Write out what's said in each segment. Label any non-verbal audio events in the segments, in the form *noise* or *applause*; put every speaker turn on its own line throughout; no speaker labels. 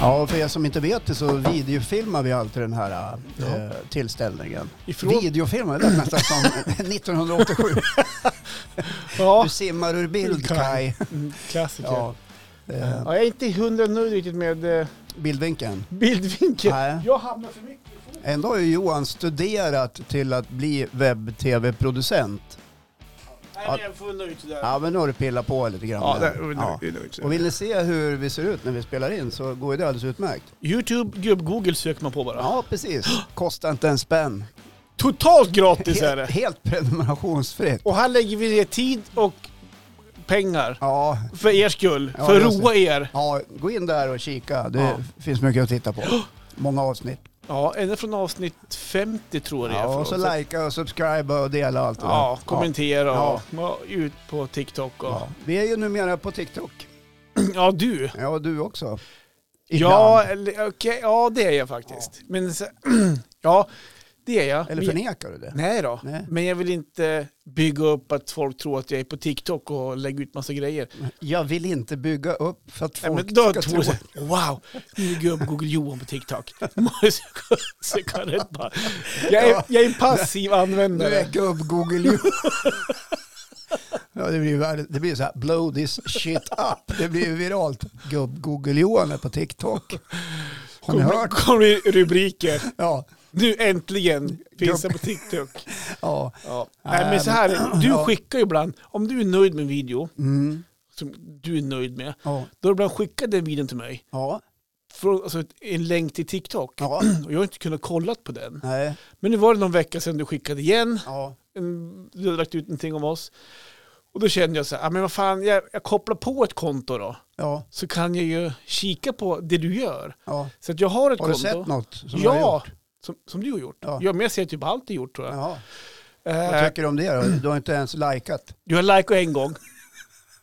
Ja, och för er som inte vet det så videofilmar vi alltid den här eh, tillställningen.
Ifrån-
Videofilmar, det lät nästan som
*laughs*
1987.
Ja,
Du simmar ur bild, Kaj.
mm, klassiker. Ja.
Ja. Eh,
jag är inte hundra nu riktigt med eh,
bildvinkeln.
bildvinkeln.
Nej.
Jag hamnar för mycket.
Ändå har ju Johan studerat till att bli webb-tv-producent.
Nej,
Ja.
men jag får nöjt där.
Ja, men nu har du pillat på lite grann.
Ja,
där.
där,
Ja.
nöjd, nöjd.
Och vill ni se hur vi ser ut när vi spelar in så går ju det alldeles utmärkt.
Youtube, gubb-google söker man på bara.
Ja, precis. Kostar inte en spänn. *laughs*
Totalt gratis är
Helt,
det.
helt prenumerationsfritt.
Och här lägger vi ner tid och pengar.
Ja,
För er skull.
Ja,
för att
just
roa er.
ja, gå in där och kika. Det
Ja.
finns mycket att titta på. Många avsnitt.
Ja, ända från avsnitt 50 tror jag det är
Ja,
för
och så
oss.
likea och subscriba och dela allt det
Ja,
där.
kommentera
Ja.
och ja. ut på TikTok och... *clears throat*
Ja.
Ja,
Vi är ju numera på TikTok.
du.
Ja, och du också.
Ja,
Ibland.
eller, okej, ja, det är jag faktiskt. Men så, *clears throat* ja, det är jag.
Eller
Men-
förnekar du det?
Nej då.
Nej.
Men jag vill inte bygga upp att folk tror att jag är på TikTok och lägger ut massa grejer.
Jag vill inte bygga upp för att
Nej,
folk
men då
ska
tror
tro...
jag, wow, nu går jag upp Google Johan
*laughs*
på TikTok. Söka- Söka rätt bara. Jag är,
Ja.
jag är en passiv
Nu
användare.
är gubb Google you. *laughs* Ja, det blir, ju värre- det blir så här, blow this shit up. Det blir ju viralt. Gubb-Google-Johan är på TikTok. Har ni
Kommer
hört?
kommer rubriker.
Ja.
Nu äntligen finns jag på TikTok.
ja.
Ja.
Nej,
Nej, men så här, är det. du
ja.
skickar ju ibland, om du är nöjd med en video
Mm.
som du är nöjd med,
Ja.
då har du ibland skickat den videon till mig.
Ja.
Från, alltså ett- en länk till TikTok.
Ja.
Och jag har inte kunnat kolla på den.
Nej.
Men nu var det någon vecka sedan du skickade igen.
Ja.
En, du hade lagt ut någonting om oss. Och då kände jag så här, ah, men vad fan, jag, jag kopplar på ett konto då.
Ja.
Så kan jag ju kika på det du gör.
ja.
Så att jag har ett
Har du
konto.
sett något som jag har
ja,
gjort?
som, som du har gjort.
Ja.
Ja. men jag ser typ allt du gjort tror jag.
Ja. Vad
Eh,
tycker du om det då? Du har inte ens likat.
Du har likat en gång.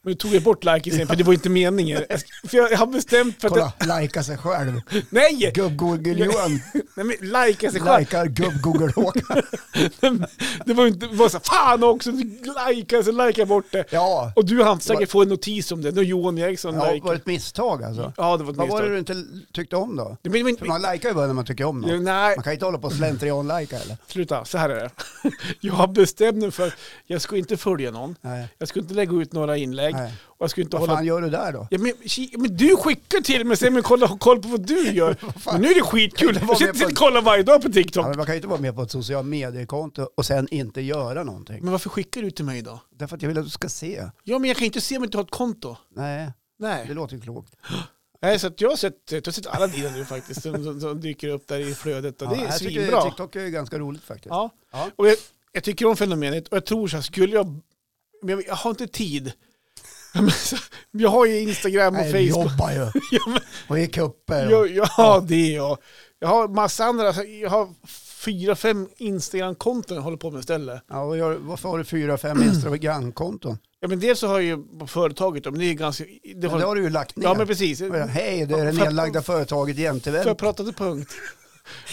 Men du tog jag bort liken sen för det var inte meningen. Jag ska- För jag har bestämt för att...
Kolla, lika sig själv.
nej!
Gubb-Google-Johan
Nej men likea sig själv.
likar
*laughs*
gubb-Google-Håkan.
Det var ju inte... Det var så här, fan också! Likea, så likea jag bort det.
Ja.
Och du hann säkert få en notis om det. Nu har Johan Eriksson
Ja,
likat.
var det ett misstag alltså?
Ja, det var ett
Vad var det
misstag.
du inte tyckte om då?
Men, men,
För man likar ju bara när man tycker om
Ja,
något.
nej,
Man kan ju inte hålla på och slentrian-lika eller?
sluta. Så här är det. *laughs* Jag har bestämt mig för att jag ska inte följa någon.
Nej.
Jag ska inte lägga ut några inlägg.
Nej.
Och jag ska inte
Vad
hålla
fan gör du där då?
Ja, men, ki- men du skickar till mig sen men kolla, koll på vad du
*laughs*
gör. men nu är det skitkul.
Kan du
Jag
vara
sitter
med
till
på-
och kollar varje dag på TikTok.
Ja, men man kan ju inte vara med på ett socialt mediekonto och sen inte göra någonting.
Men varför skickar du till mig då?
Därför att jag vill att du ska se.
Ja men jag kan inte se om jag inte har ett konto.
Nej, det
Nej.
låter ju klokt.
Nej så att jag har sett, jag har sett alla dina nu faktiskt som, som, som dyker upp där i flödet och det är
jag tycker
svinbra.
TikTok är ju ganska roligt faktiskt.
Ja.
Ja.
Och jag, jag tycker om fenomenet och jag tror så här, skulle jag, men jag, jag har inte tid. *laughs* Men så- Jag har ju Instagram och
Nej, vi
Facebook. *laughs*
jobbar ju
Ja, men-
och är kupper.
Ja, ja det är jag. Jag har massa andra, alltså, jag har fyra, fem Instagram-konton jag håller på med istället.
Ja, och gör, varför har du fyra, fem Instagram-konton?
Ja, men dels så har jag ju på företaget, då, men det är ganska... Det
Men det
har,
har du ju lagt ner.
ja, men precis.
Men,
Får
Hej, det är det
För-
nedlagda företaget Jämteväl.
jag
Jag
prata till punkt?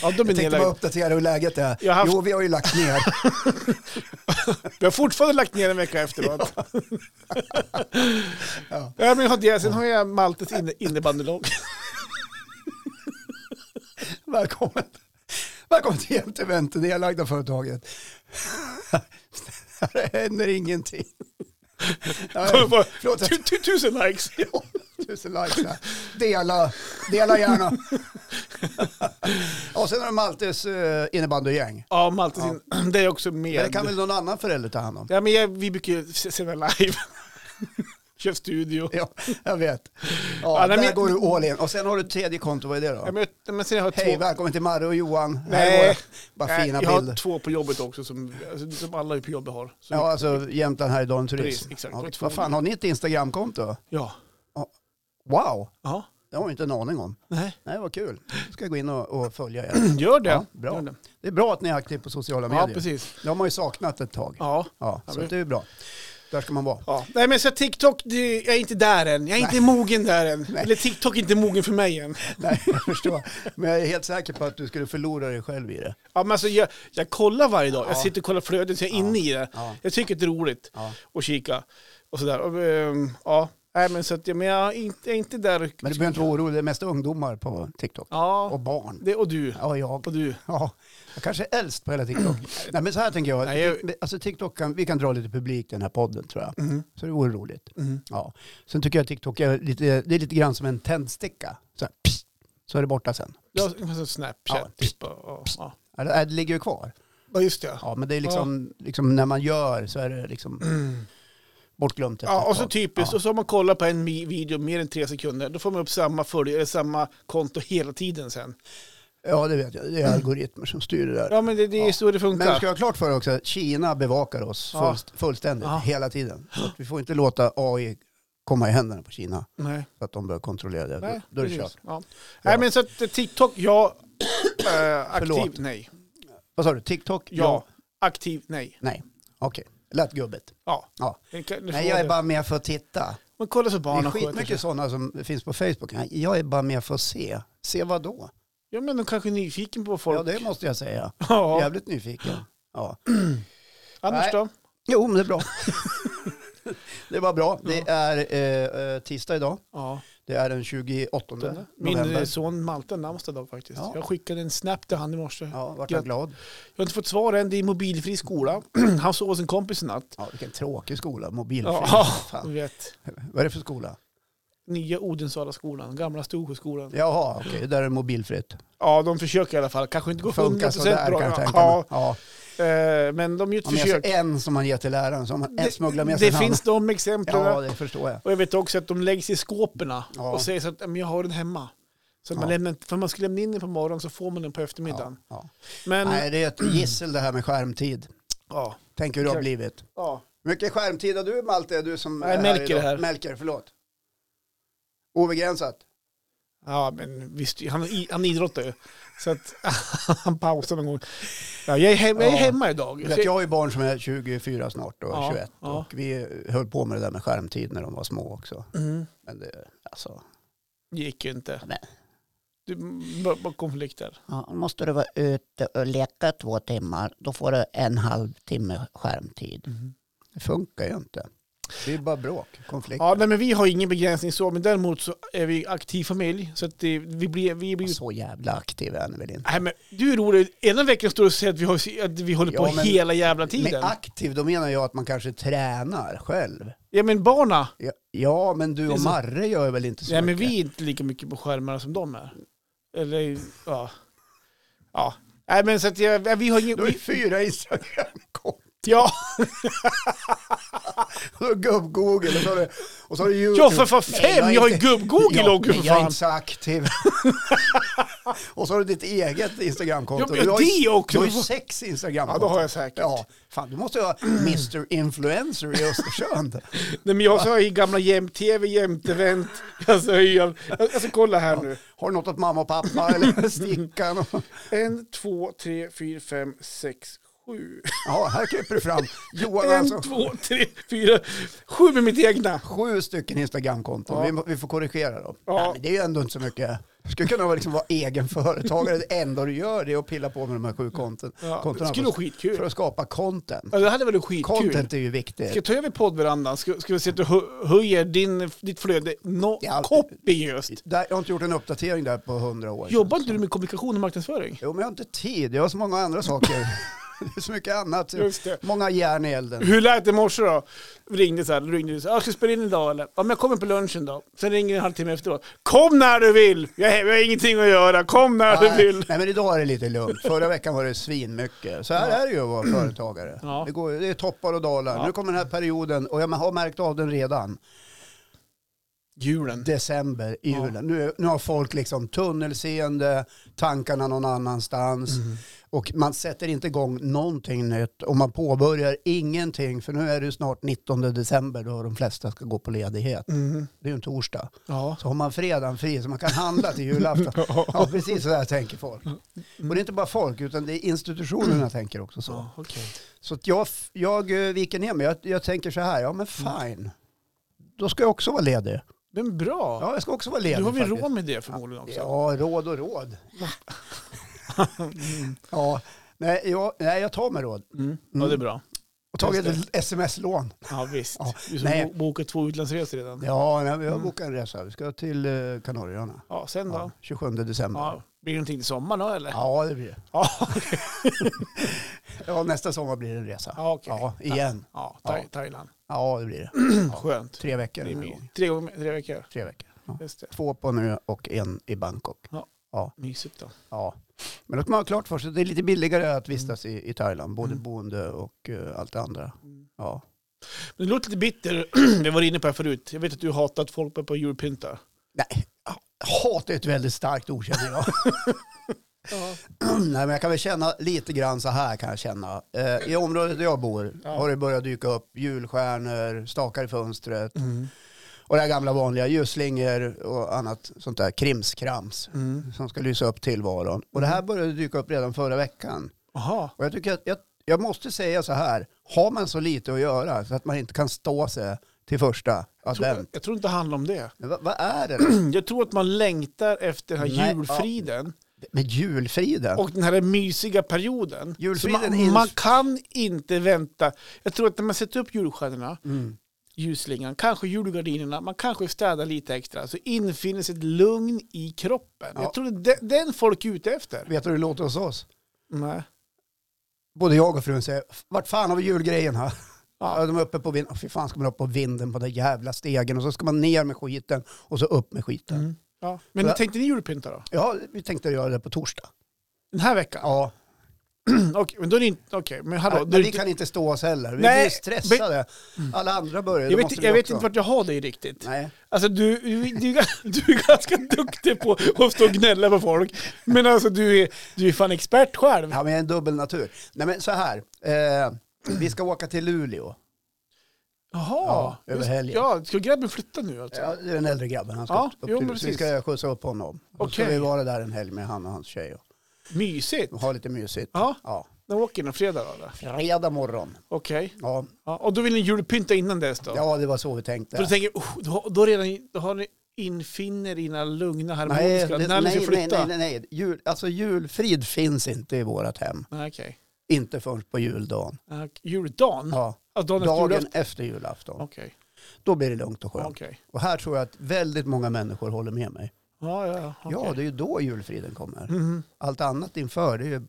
Ja, de är
tänkte bara
nedlagda.
uppdatera hur läget är.
Jag har haft-
Jo, vi har ju lagt ner. *laughs*
Vi har fortfarande lagt ner en vecka efteråt. *laughs* Ja. men jag har det. Sen har jag Maltes inne, innebandylag.
Välkommen. Välkommen till Jämteväl, det nedlagda företaget. *laughs* Här händer ingenting.
Kommer
*laughs* Nej,
bara,
Förlåt, jag-
tu- tu- Tusen likes.
tusen likes här. Dela, dela
*laughs*
gärna. Ja, sen har du Maltes eh, innebandygäng.
Ja, Maltes in, det är jag också med.
Men det kan väl någon annan förälder ta
*laughs*
hand om?
Ja, men jag, vi brukar ju s- sända live. *laughs* Kör studio.
Ja, jag vet. Ja,
Ja,
där
nej, men-
går du all in. Och sen har du ett tredje konto, vad är det då?
Ja, men, jag- men sen har jag
Hej,
två,
välkommen till Marre och Johan. Här
Nej.
är våra, bara
Nej,
fina
jag har
bilder.
två på jobbet också som, alltså, som alla på jobbet har. Så,
Ja,
ja.
alltså Jämtland Härjedalen Turism.
Precis, exakt.
Ja,
Det var två
vad fan,
bilder.
har ni ett Instagramkonto?
ja.
Wow, det har jag inte en aning om.
Nej.
Nej, vad kul. Då ska jag gå in och, och följa er.
Gör det.
Ja,
*clears throat* Ja,
bra.
Gör det.
Det är bra att ni är aktiv på sociala
ja
medier.
precis.
det har man ju saknat ett tag.
Ja.
Ja,
Ja,
så
men-
att det är bra. Där ska man vara.
Ja. Nej men så TikTok, det, jag är inte där än. Jag är inte mogen där än. Eller TikTok är inte mogen för mig än.
*laughs* Nej, jag förstår. Men jag är helt säker på att du skulle förlora dig själv i det.
Ja, men alltså, jag, jag kollar varje dag. Jag
Ja.
sitter och kollar flödet, så jag är inne i det.
Ja.
Jag tycker det är roligt
Ja.
att kika och sådär. Och, ehm, ja. Nej, men så att, jag- men jag är inte, jag är inte där. och-
Men du behöver inte vara orolig, det är mest ungdomar på TikTok. Och
Ja,
barn.
det, och du.
Ja, jag.
Och du.
Ja, jag kanske är äldst på hela
*clears throat*
TikTok. Nej, men så här tänker jag.
Nej, jag-
Vi- Alltså TikTok kan, vi kan dra lite publik den här podden tror jag. Så det vore roligt.
Mm.
Ja. Sen tycker jag att TikTok är lite, det är lite grann som en tändsticka. Så, här, pss, så är det borta sen.
Jag har så Snapchat.
Ja.
Typ, och, och, ja.
Eller, nej, det ligger ju kvar.
ja, just det.
Ja, men det är liksom, liksom när man gör så är det liksom bortglömt. efter
Mm. Ja,
ett
och så
tag.
typiskt.
Ja.
Och så har man kollat på en mi- video mer än tre sekunder. Då får man upp samma följare, samma konto hela tiden sen.
Ja, det vet jag. Det är algoritmer som styr det där.
Ja, men det, det är
Ja.
så det funkar.
Men vi ska ha klart för oss också att Kina bevakar oss
Ja.
fullst, fullständigt
Ja.
hela tiden. Så att vi får inte låta AI komma i händerna på Kina
Nej.
så att de börjar kontrollera det.
Nej,
Nej, då är det
precis.
kört.
Ja. Nej, men så att eh, TikTok, ja. *clears throat* Eh, aktiv,
Förlåt.
nej.
Vad sa du? TikTok?
Ja. Aktiv, nej.
Nej. Okej. Lät gubbigt.
Ja.
Ja.
Det kan- det
Nej,
får
jag är
det.
bara med för att titta.
Men kolla så
Det är
barnen sköter sig.
skitmycket sådana som finns på Facebook. Nej, Jag är bara med för att se. Se vad då?
Ja, men de kanske är nyfiken på vad folk...
Ja, det måste jag säga.
*laughs* Ja.
Jävligt nyfiken. Ja.
Annars
Nej.
då?
Jo, men det är
*laughs*
bra. det var bra. Det är eh, eh, tisdag idag.
Ja.
Det är den 28 november.
Min eh, son Malte har namnsdag idag faktiskt.
Ja.
Jag skickade en snap till han i morse.
Ja, vart han glad?
Jag har inte fått svar än. Det är mobilfri skola. *clears throat* han sov hos en kompis i natt.
Ja, vilken tråkig skola, mobilfri.
Ja, du
Fan.
vet.
Vad är det för skola?
Nya Odensala skolan, gamla Storsjöskolan.
Jaha, okej, där är det mobilfritt.
Ja, de försöker i alla fall. Kanske inte går 100
Funkar
procent
sådär
bra.
kan jag tänka mig.
Ja,
Ja,
eh, men de gör ett
om jag
försök.
ser en som man ger till läraren så har man en smugglar med sig
det
en
finns de exemplen.
annan. Ja, det förstår jag.
Och jag vet också att de läggs i skåperna
Ja.
och säger så att "Men jag har den hemma. Så att man
Ja.
lämnar, för man ska lämna in den på morgonen så får man den på eftermiddagen.
Ja.
Men,
Nej, det är ett gissel det här med skärmtid.
ja.
Tänk hur det har
Exakt.
blivt.
ja.
mycket skärmtid har du Malte, du som
Nej,
är
Melker
idag?
är här.
Melker, förlåt. Obegränsat.
Ja, men visst, han, i- han idrottar ju. Så att *laughs* han pausar någon gång. Ja, jag, är hemma, jag är
Ja.
hemma idag.
Du vet, jag har ju barn som är 24 snart och
Ja,
21.
ja.
Och vi höll på med det där med skärmtid när de var små också.
Mm,
Men det, alltså,
gick ju inte.
Nej.
Du, b- b- konflikter.
Ja, då måste du vara ute och leka två timmar. Då får du en halvtimme skärmtid.
Mm.
det funkar ju inte. Det är bara bråk, konflikt.
Ja, nej, men vi har ingen begränsning så, men däremot så är vi aktiv familj. Så att det, vi blir... Vi blir
Så jävla aktiv är ni väl inte?
Nej, men du är rolig. Ena veckan står du och säger att vi, har, att vi håller
Ja,
på
men-
hela jävla tiden.
Med aktiv, då menar jag att man kanske tränar själv.
Ja, men barna.
Ja, ja men du
Det är
och
så-
Marre gör väl inte så
Nej, men
mycket?
vi är inte lika mycket på skärmarna som de är. Eller, ja. Ja. Nej, men så att jag, vi har ingen...
Du har ju
Vi,
fyra Instagram-konton.
*laughs* ja,
Du har gubb-Google och så har du, och så har du YouTube.
ja, för fan
Nej,
fem! Jag har ju
inte-
gubb-Google
Ja,
och för
men Jag är
fan.
inte så
*laughs*
aktiv. och så har du ditt eget Instagram-konto.
Ja, men jag-
Du har ju-
det också.
Du har ju sex Instagram-konton.
Ja, det har jag säkert.
Ja, fan du måste ju ha Mr. Influencer i Östersund.
Nej, men jag har ju gamla jämt-tv, jämt-event. Alltså, jag, alltså, kolla här nu.
Har du något åt mamma och pappa
*laughs*
eller stickan? Och...
En, två, tre, fyra, fem, sex, *laughs* sju.
Ja, här kryper du fram. Johan har
En,
alltså
två, tre, fyra, sju med mitt egna.
sju stycken Instagram-konton.
Ja.
Vi, må- vi får korrigera dem.
Ja.
Nej, men det är ju ändå inte så mycket. Du skulle kunna vara, liksom, vara egen företagare. Det enda du gör det är att pilla på med de här sju konton.
Ja, det
kontona
skulle vara
för, för
skitkul.
att skapa content.
Ja, det hade varit skitkul.
Content är ju
Ska jag
viktigt.
ta över poddverandan? Ska, ska vi se att du hö- höjer din, ditt flöde no,
Ja.
kopiöst?
Där, jag har inte gjort en uppdatering där på hundra år.
Jobbar inte du med kommunikation och marknadsföring?
Jo, men jag har inte tid. Jag har så många andra saker. *laughs* det är så mycket annat.
Just det.
Många järn i elden.
Hur lät det i morse då? Ringde så här, ringde så här, "Ah, ska du spela in idag eller? Ja men jag kommer på lunchen då. Sen ringer en halvtimme efteråt. Kom när du vill! Jag, är hemma, jag har ingenting att göra, kom när du
Nej,
vill!
nej, men idag är det lite lugnt. Förra veckan var det svinmycket. Så här är det ju att vara företagare.
Ja.
Det, går, det är toppar och dalar.
Ja.
Nu kommer den här perioden och jag har märkt av den redan.
Julen.
December, i
Ja.
julen. Nu, är- nu har folk liksom tunnelseende, tankarna någon annanstans.
Mm.
Och man sätter inte igång någonting nytt och man påbörjar ingenting. För nu är det ju snart 19 december då de flesta ska gå på ledighet. Det är ju en torsdag.
Mm. Ja.
Så har man fredagen fri så man kan handla till
*laughs*
julafton. Ja, precis så där tänker folk. Och det är inte bara folk, utan det är institutionerna tänker också så.
Mm. Ja, okej.
Så att jag, jag eh, viker ner mig. Jag, jag tänker så här, ja men fine. Då ska jag också vara ledig.
Men bra!
Ja, jag ska också vara ledig
Du har väl
faktiskt.
råd med det förmodligen också?
Ja, råd och råd. *laughs* ja, nej jag, nej, jag tar mig råd.
Mm. ja det är bra.
Och tagit ett sms-lån.
Ja, visst.
Ja,
Du som
nej.
bo- bokat två utlandsresor redan. Ja,
Ja, nej, vi har bokat en resa. Vi ska till eh, Kanarieöarna.
sen då?
Ja,
Mm. Ja.
27 december. Ja.
Blir det någonting till sommaren då eller?
det blir det.
Ja, *laughs*
Ja, nästa sommar blir det en resa.
ja okej.
Ja, igen.
Ja, Tha-
Ja.
Thailand.
Ja, det blir det.
Skönt.
Tre veckor.
Det är
den här
my-
gången.
Tre, gånger, tre veckor.
Tre veckor. Ja.
Just det.
Två på nu och en i Bangkok.
Ja.
Ja,
Mysigt då.
ja. Men då ska man ha klart för sig, det är lite billigare att vistas i, i Thailand, både
Mm.
boende och eh, allt det andra. Ja.
Men du låter lite bitter. *clears throat* Vi var inne på det här förut. Jag vet att du hatat folk på- på Europynta.
Nej, hat är ett väldigt starkt ord känner jag. *clears throat*
Ja.
Nej, men jag kan väl känna lite grann så här kan jag känna. Eh, I området där jag bor
Ja.
har det börjat dyka upp julstjärnor, stakar i fönstret och det här gamla vanliga ljusslingor och annat sånt där krimskrams som ska lysa upp tillvaron. Och det här
Mm.
började dyka upp redan förra veckan.
Jaha.
Och jag tycker att jag, jag måste säga så här, har man så lite att göra så att man inte kan stå sig till första
Jag tror,
advent.
jag tror inte det handlar om det. *clears throat*
Men Vad, vad är det då?
Jag tror att man längtar efter den här
Nej, ja.
julfriden
med julfriden?
och den här mysiga perioden.
Julfriden
Så
är-
man, man kan inte vänta. Jag tror att när man sätter upp julstjärnorna,
Mm.
ljusslingan, kanske julgardinerna, man kanske städar lite extra, så infinner sig ett lugn i kroppen.
Ja.
Jag tror det är de- den folk är ute efter.
Vet du hur det låter hos oss?
Nej.
Både jag och frun säger, vart fan har vi julgrejen här?
Ja.
Ja. De är uppe på vinden, fy fan ska man upp på vinden på den jävla stegen och så ska man ner med skiten och så upp med skiten.
Ja. Men
Ja.
tänkte ni julpynta då?
Ja, vi tänkte göra det på torsdag.
Den här veckan?
Ja,
*clears throat* Okej, men då är det inte... Okej, men hallå.
men
då är det
vi
inte-
kan inte stå oss heller. Vi
Nej, Mm.
blir stressade. Alla andra börjar,
jag vet, jag vet inte vart jag har dig riktigt.
Nej.
Alltså du, du, du, *laughs* du är ganska duktig på att stå och gnälla på folk. Men alltså du är, du är fan expert själv.
Ja, men jag är en dubbel natur. Nej, men så här. Eh, vi ska åka till Luleå.
Jaha.
över
Just-
helgen.
Ja, ska grabben flytta nu alltså?
Ja, det är den äldre grabben. Han ska
Ja,
upp till,
jo, men
Luleå. så vi
precis.
ska skjutsa upp honom. Då ska
Okej.
vi vara där en helg med han och hans tjej
Mysigt.
och ha lite mysigt.
Ja.
ja.
När åker ni? Fredag då? eller?
Fredag morgon.
Okej.
Ja.
Ja, och då vill ni julpynta innan dess då?
ja, det var så vi tänkte.
För du tänker, oh, då, har- då, redan, då har ni infinner i era lugna
Nej,
harmoniska...
det,
när ni ska
nej, nej,
flytta?
nej, nej, nej. Jul, alltså julfrid finns inte i vårt hem.
nej. Okej.
Inte förrän på juldagen.
Ja, Juldagen?
Ja,
Alltså dagen efter
dagen
julafton?
efter julafton.
Okej.
Då blir det lugnt och skönt.
Okej.
Och här tror jag att väldigt många människor håller med mig.
Ja, ja, ja.
Ja,
okej.
det är ju då julfriden kommer.
Mhm.
Allt annat inför, det är ju...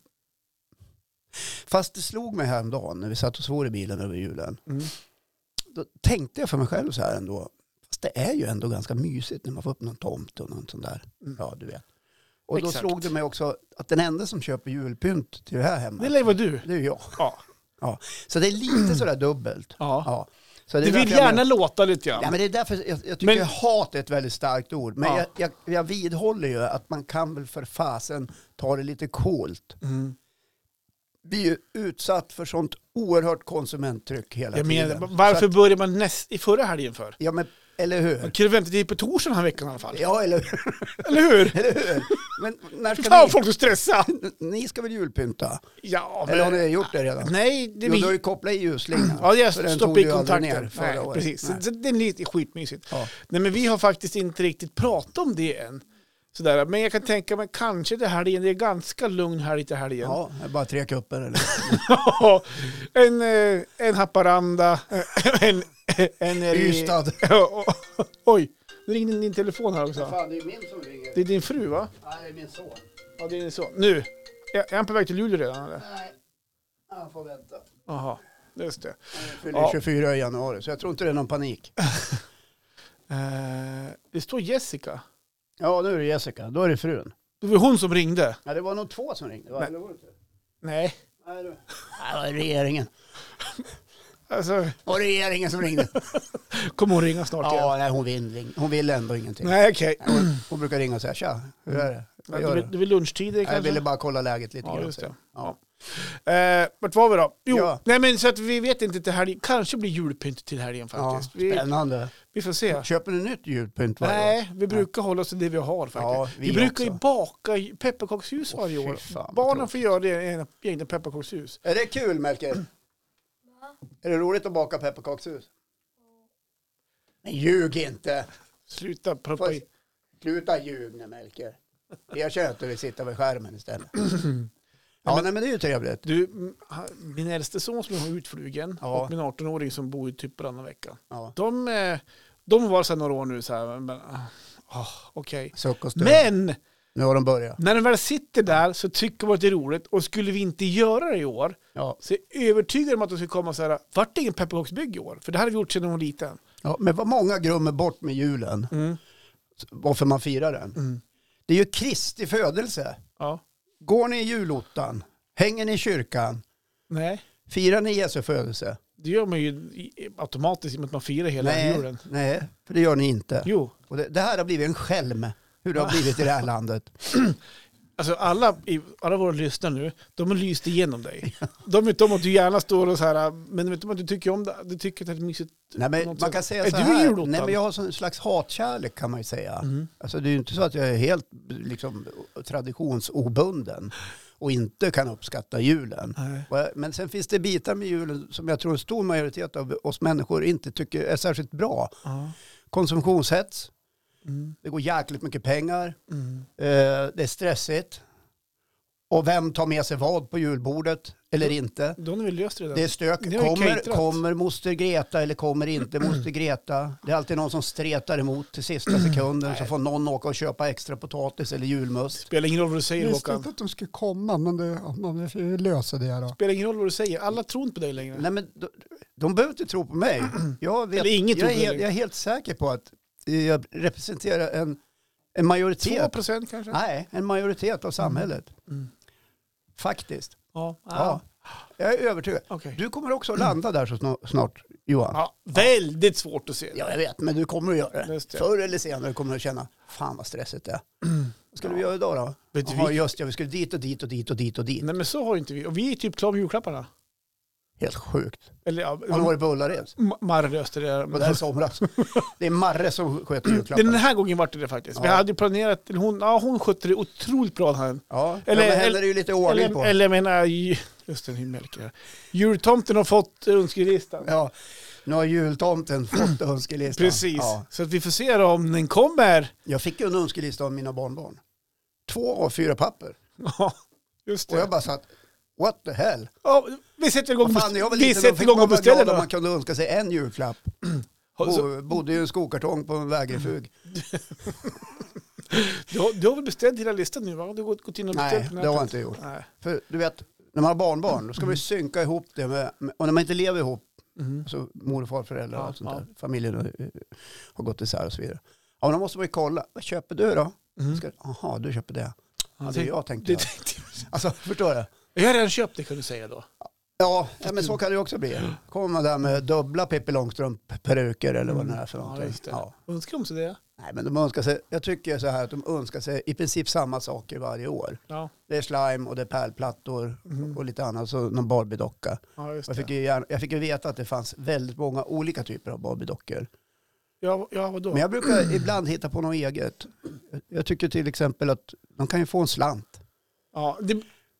Fast det slog mig häromdagen när vi satt och svor i bilen över julen.
Mm.
Då tänkte jag för mig själv så här ändå. Fast det är ju ändå ganska mysigt när man får upp någon tomt och något sånt där. Ja, du vet. Och då
Mm. Exakt.
slog det mig också att den enda som köper julpynt till det här
Det
hemma,
lär ju vara du.
det är ju jag.
Ja.
Ja. Så det är
*clears throat*
lite sådär dubbelt.
ja.
Ja. Så det
Du
är
vill
därför jag
gärna
menar-
låta lite grann.
Ja, men det är därför jag, jag tycker
Men-
att hat är ett väldigt starkt ord. Men
Ja.
jag, jag, jag vidhåller ju att man kan väl för fasen ta det lite coolt.
Mm.
Vi är ju utsatt för sånt oerhört konsumenttryck hela
Jag
tiden.
menar,
Så
varför
Att,
började man näst, i förra helgen för?
ja, men, eller
Man
hur?
kunde vänta till på torsdagen den här veckan i alla fall.
Ja, eller hur? *laughs*
Eller hur?
eller hur? Men när ska
Fan vad
ni...
folk är stressade!
Ni ska väl julpynta?
Ja,
Eller har
men...
ni gjort det redan?
Nej, det
Jo, du har
blir...
ju kopplat i ljusslingan.
Ja, det
Så
är
den
stopp
tog
i
du aldrig ner
kontakten.
förra
Nej,
året.
precis.
Nej.
Så det är lite skitmysigt.
Ja.
Nej, men vi har faktiskt inte riktigt pratat om det än. Sådär. Men jag kan tänka mig kanske det här igen. Det är ganska lugn helg till helgen.
Ja, det är bara tre kupper eller?
*laughs* en, eh, en Haparanda, eh, en... en
Ystad.
*laughs* Oj, nu ringde din telefon här också.
det är min som ringer.
Det är din fru va?
Nej, det är min son.
Ja, det är så. Nu! Är är han på väg till Luleå redan eller?
Nej, han får vänta.
Jaha, just det.
Jag fyller
Ja.
24 i januari, så jag tror inte det är någon panik.
Eh, det står Jessica.
Ja, nu är det Jessica. Då är det frun.
Det var hon som ringde.
Ja, det var nog två som ringde, va?
Nej.
Eller var det inte?
Nej.
Nej, det var- Ja, det var regeringen.
Alltså,
Det var regeringen som *laughs* ringde.
kommer hon ringa snart igen?
Ja, nej, hon vill, hon vill ändå ingenting.
Nej, okej.
Hon, hon brukar ringa och säga, tja, hur är det? Vad
Det
gör
blir-
du?
det blir lunchtider
Nej, Jag
kanske?
ville bara kolla läget lite
Ja,
grann.
just det.
Ja.
Eh, vart var vi då? Jo,
Ja.
nej men så att vi vet inte till helgen. Kanske blir julpynt till helgen
Ja,
faktiskt. vi,
spännande.
vi får se.
Köper du nytt julpynt varje år?
Nej, vi brukar hålla oss till det vi har faktiskt.
Ja, vi
vi brukar ju
också.
baka ju- pepparkakshus
Åh,
varje
fy
år.
fan, vad
Barnen
tråkigt.
får göra det egna- egna pepparkakshus.
Är det kul, Melker? Är det roligt att baka pepparkakshus? Men ljug inte!
Sluta proppa
Får-
i. *clears throat*
Sluta ljug nu, Melker. Erkänn att du vill sitta vid skärmen istället. Ja, nej, men det är ju trevligt.
Du, mm, ha- min äldste son som är utflugen
Ja.
och min 18-åring som bor i typ varannan vecka.
Ja.
De, eh, de var så här några år nu så här, men ah, ah, okej.
Suck och stöd.
Men
Nu har de börjat.
när de väl sitter där så tycker man att det är roligt och skulle vi inte göra det i år
Ja.
så är jag övertygad om att de skulle komma och säga, vart det ingen pepparkaksbygg i år? För det hade vi gjort sedan hon var liten.
Ja, men vad många glömmer bort med julen,
Mm.
varför man firar den.
Mm.
Det är ju Kristi födelse.
Ja.
Går ni i julottan? Hänger ni i kyrkan?
Nej,
Firar ni Jesu födelse?
det gör man ju i- automatiskt i och med att man firar hela
nej,
julen.
nej, för det gör ni inte.
Jo,
Och det, det här har blivit en skälm, hur det
*laughs*
har blivit i det här landet.
alltså alla, i- alla våra lyssnare nu, de har lyst igenom
*laughs*
dig. De vet om att du gärna står och så här, men vet om att du tycker om det, du tycker att det är mysigt.
Nej,
på
men man
något sätt.
kan säga
Är
så
du
här.
julottad?
Nej, men jag har sån slags hatkärlek kan man ju säga.
Mm.
Alltså, det är ju inte så att jag är helt liksom, traditionsobunden och inte kan uppskatta julen.
Nej.
Och jag- Men sen finns det bitar med julen som jag tror en stor majoritet av oss människor inte tycker är särskilt bra.
Ja.
Konsumtionshets,
Mm.
det går jäkligt mycket pengar,
Mm.
eh, det är stressigt. Och vem tar med sig vad på julbordet eller inte?
Då har vi löst det. där.
Det är stök.
Ni har ju
Kommer,
caterat.
kommer moster Greta eller kommer inte moster Greta? Det är alltid någon som stretar emot till sista sekunden så får någon åka och köpa extra potatis eller julmust.
Spelar ingen roll vad du säger Håkan.
att de skulle komma, men det, man får lösa det då.
Spelar ingen roll vad du säger. Alla tror inte på dig längre.
Nej, men de, de behöver inte tro på mig. Jag, vet,
Eller inget
jag, är,
tror på dig
helt- jag är helt säker på att jag representerar en, en
Två
majoritet.
procent kanske?
Nej, en majoritet av samhället.
Mm.
Faktiskt.
Ja.
Ja.
ja.
Jag är övertygad.
Okej.
Du kommer också att landa där så snart, snart Johan.
Ja, väldigt svårt att se.
Ja, jag vet, men du kommer att göra det.
Just det.
Förr eller senare kommer du att känna, fan vad stressigt det är. Vad skulle vi göra idag då?
Vet du,
Jaha,
vi-
just ja, vi skulle dit och dit och dit och dit och dit.
Nej men så har ju inte vi. Och vi är typ klara med julklapparna.
Helt sjukt.
Eller ja,
Har du varit på Ullared?
Ma- Marre löste det.
Var där i
*laughs*
somras? Det är Marre som sköter
Den
julklapparna.
här gången vart det det faktiskt. Vi
Ja.
hade ju planerat, eller hon, ja, hon skötte det otroligt bra. Här.
Ja, eller,
Eller-
ja, men henne
eller-
är det ju lite ordning på.
Eller, eller jag menar, ju- just den himmelkar. Jultomten har fått önskelistan.
Ja, nu har jultomten fått önskelistan.
Precis,
Ja.
så att vi får se då om den kommer. *laughs*
Jag fick ju en önskelista av mina barnbarn. Två av fyra papper.
Ja, just
Och jag
det.
bara satt, what the hell?
Ja, vi sätter igång, och
Fan, när jag var
best-
liten,
vi
då
sätter
fick
igång
man
och
vara
beställer
glad om
då.
Man kunde önska sig en julklapp.
Ha, så, Mhm.
Bo, bodde ju i en skokartong på en vägrefug.
du, har, du har väl beställt hela listan nu va? Du har gått, gått in och
Nej,
beställt på
det har
nätet.
jag inte gjort.
Nej.
För du vet, när man har barnbarn, då ska man ju synka ihop det med, med- och när man inte lever ihop,
Mm.
alltså mor och farföräldrar och
Ja,
allt sånt
ja.
där, familjen eh, har gått isär och så vidare. Ja, men då måste man ju kolla, vad köper du då?
Mm.
Ska- Jaha, du köper det. Ja, det
Tänk-
jag tänkte
Det
göra.
tänkte jag.
Alltså, förstår du?
Jag har redan köpt det kan du säga då.
Ja, ja, men så kan det ju också bli. Kommer man där med dubbla Pippi Långstrump-peruker eller vad det är för
Mm. Ja,
någonting.
just det. Önskar om sig det.
Nej, men de önskar sig, jag tycker så här att de önskar sig i princip samma saker varje år.
Ja,
Det är slime och det är pärlplattor
Mhm.
och lite annat, så någon Barbie-docka.
ja just
Jag fick,
det.
ju gärna, jag fick ju veta att det fanns väldigt många olika typer av Barbie-dockor.
Ja, ja vadå?
Men jag brukar ibland hitta på något eget. Jag- Jag tycker till exempel att de kan ju få en slant.
Ja, det,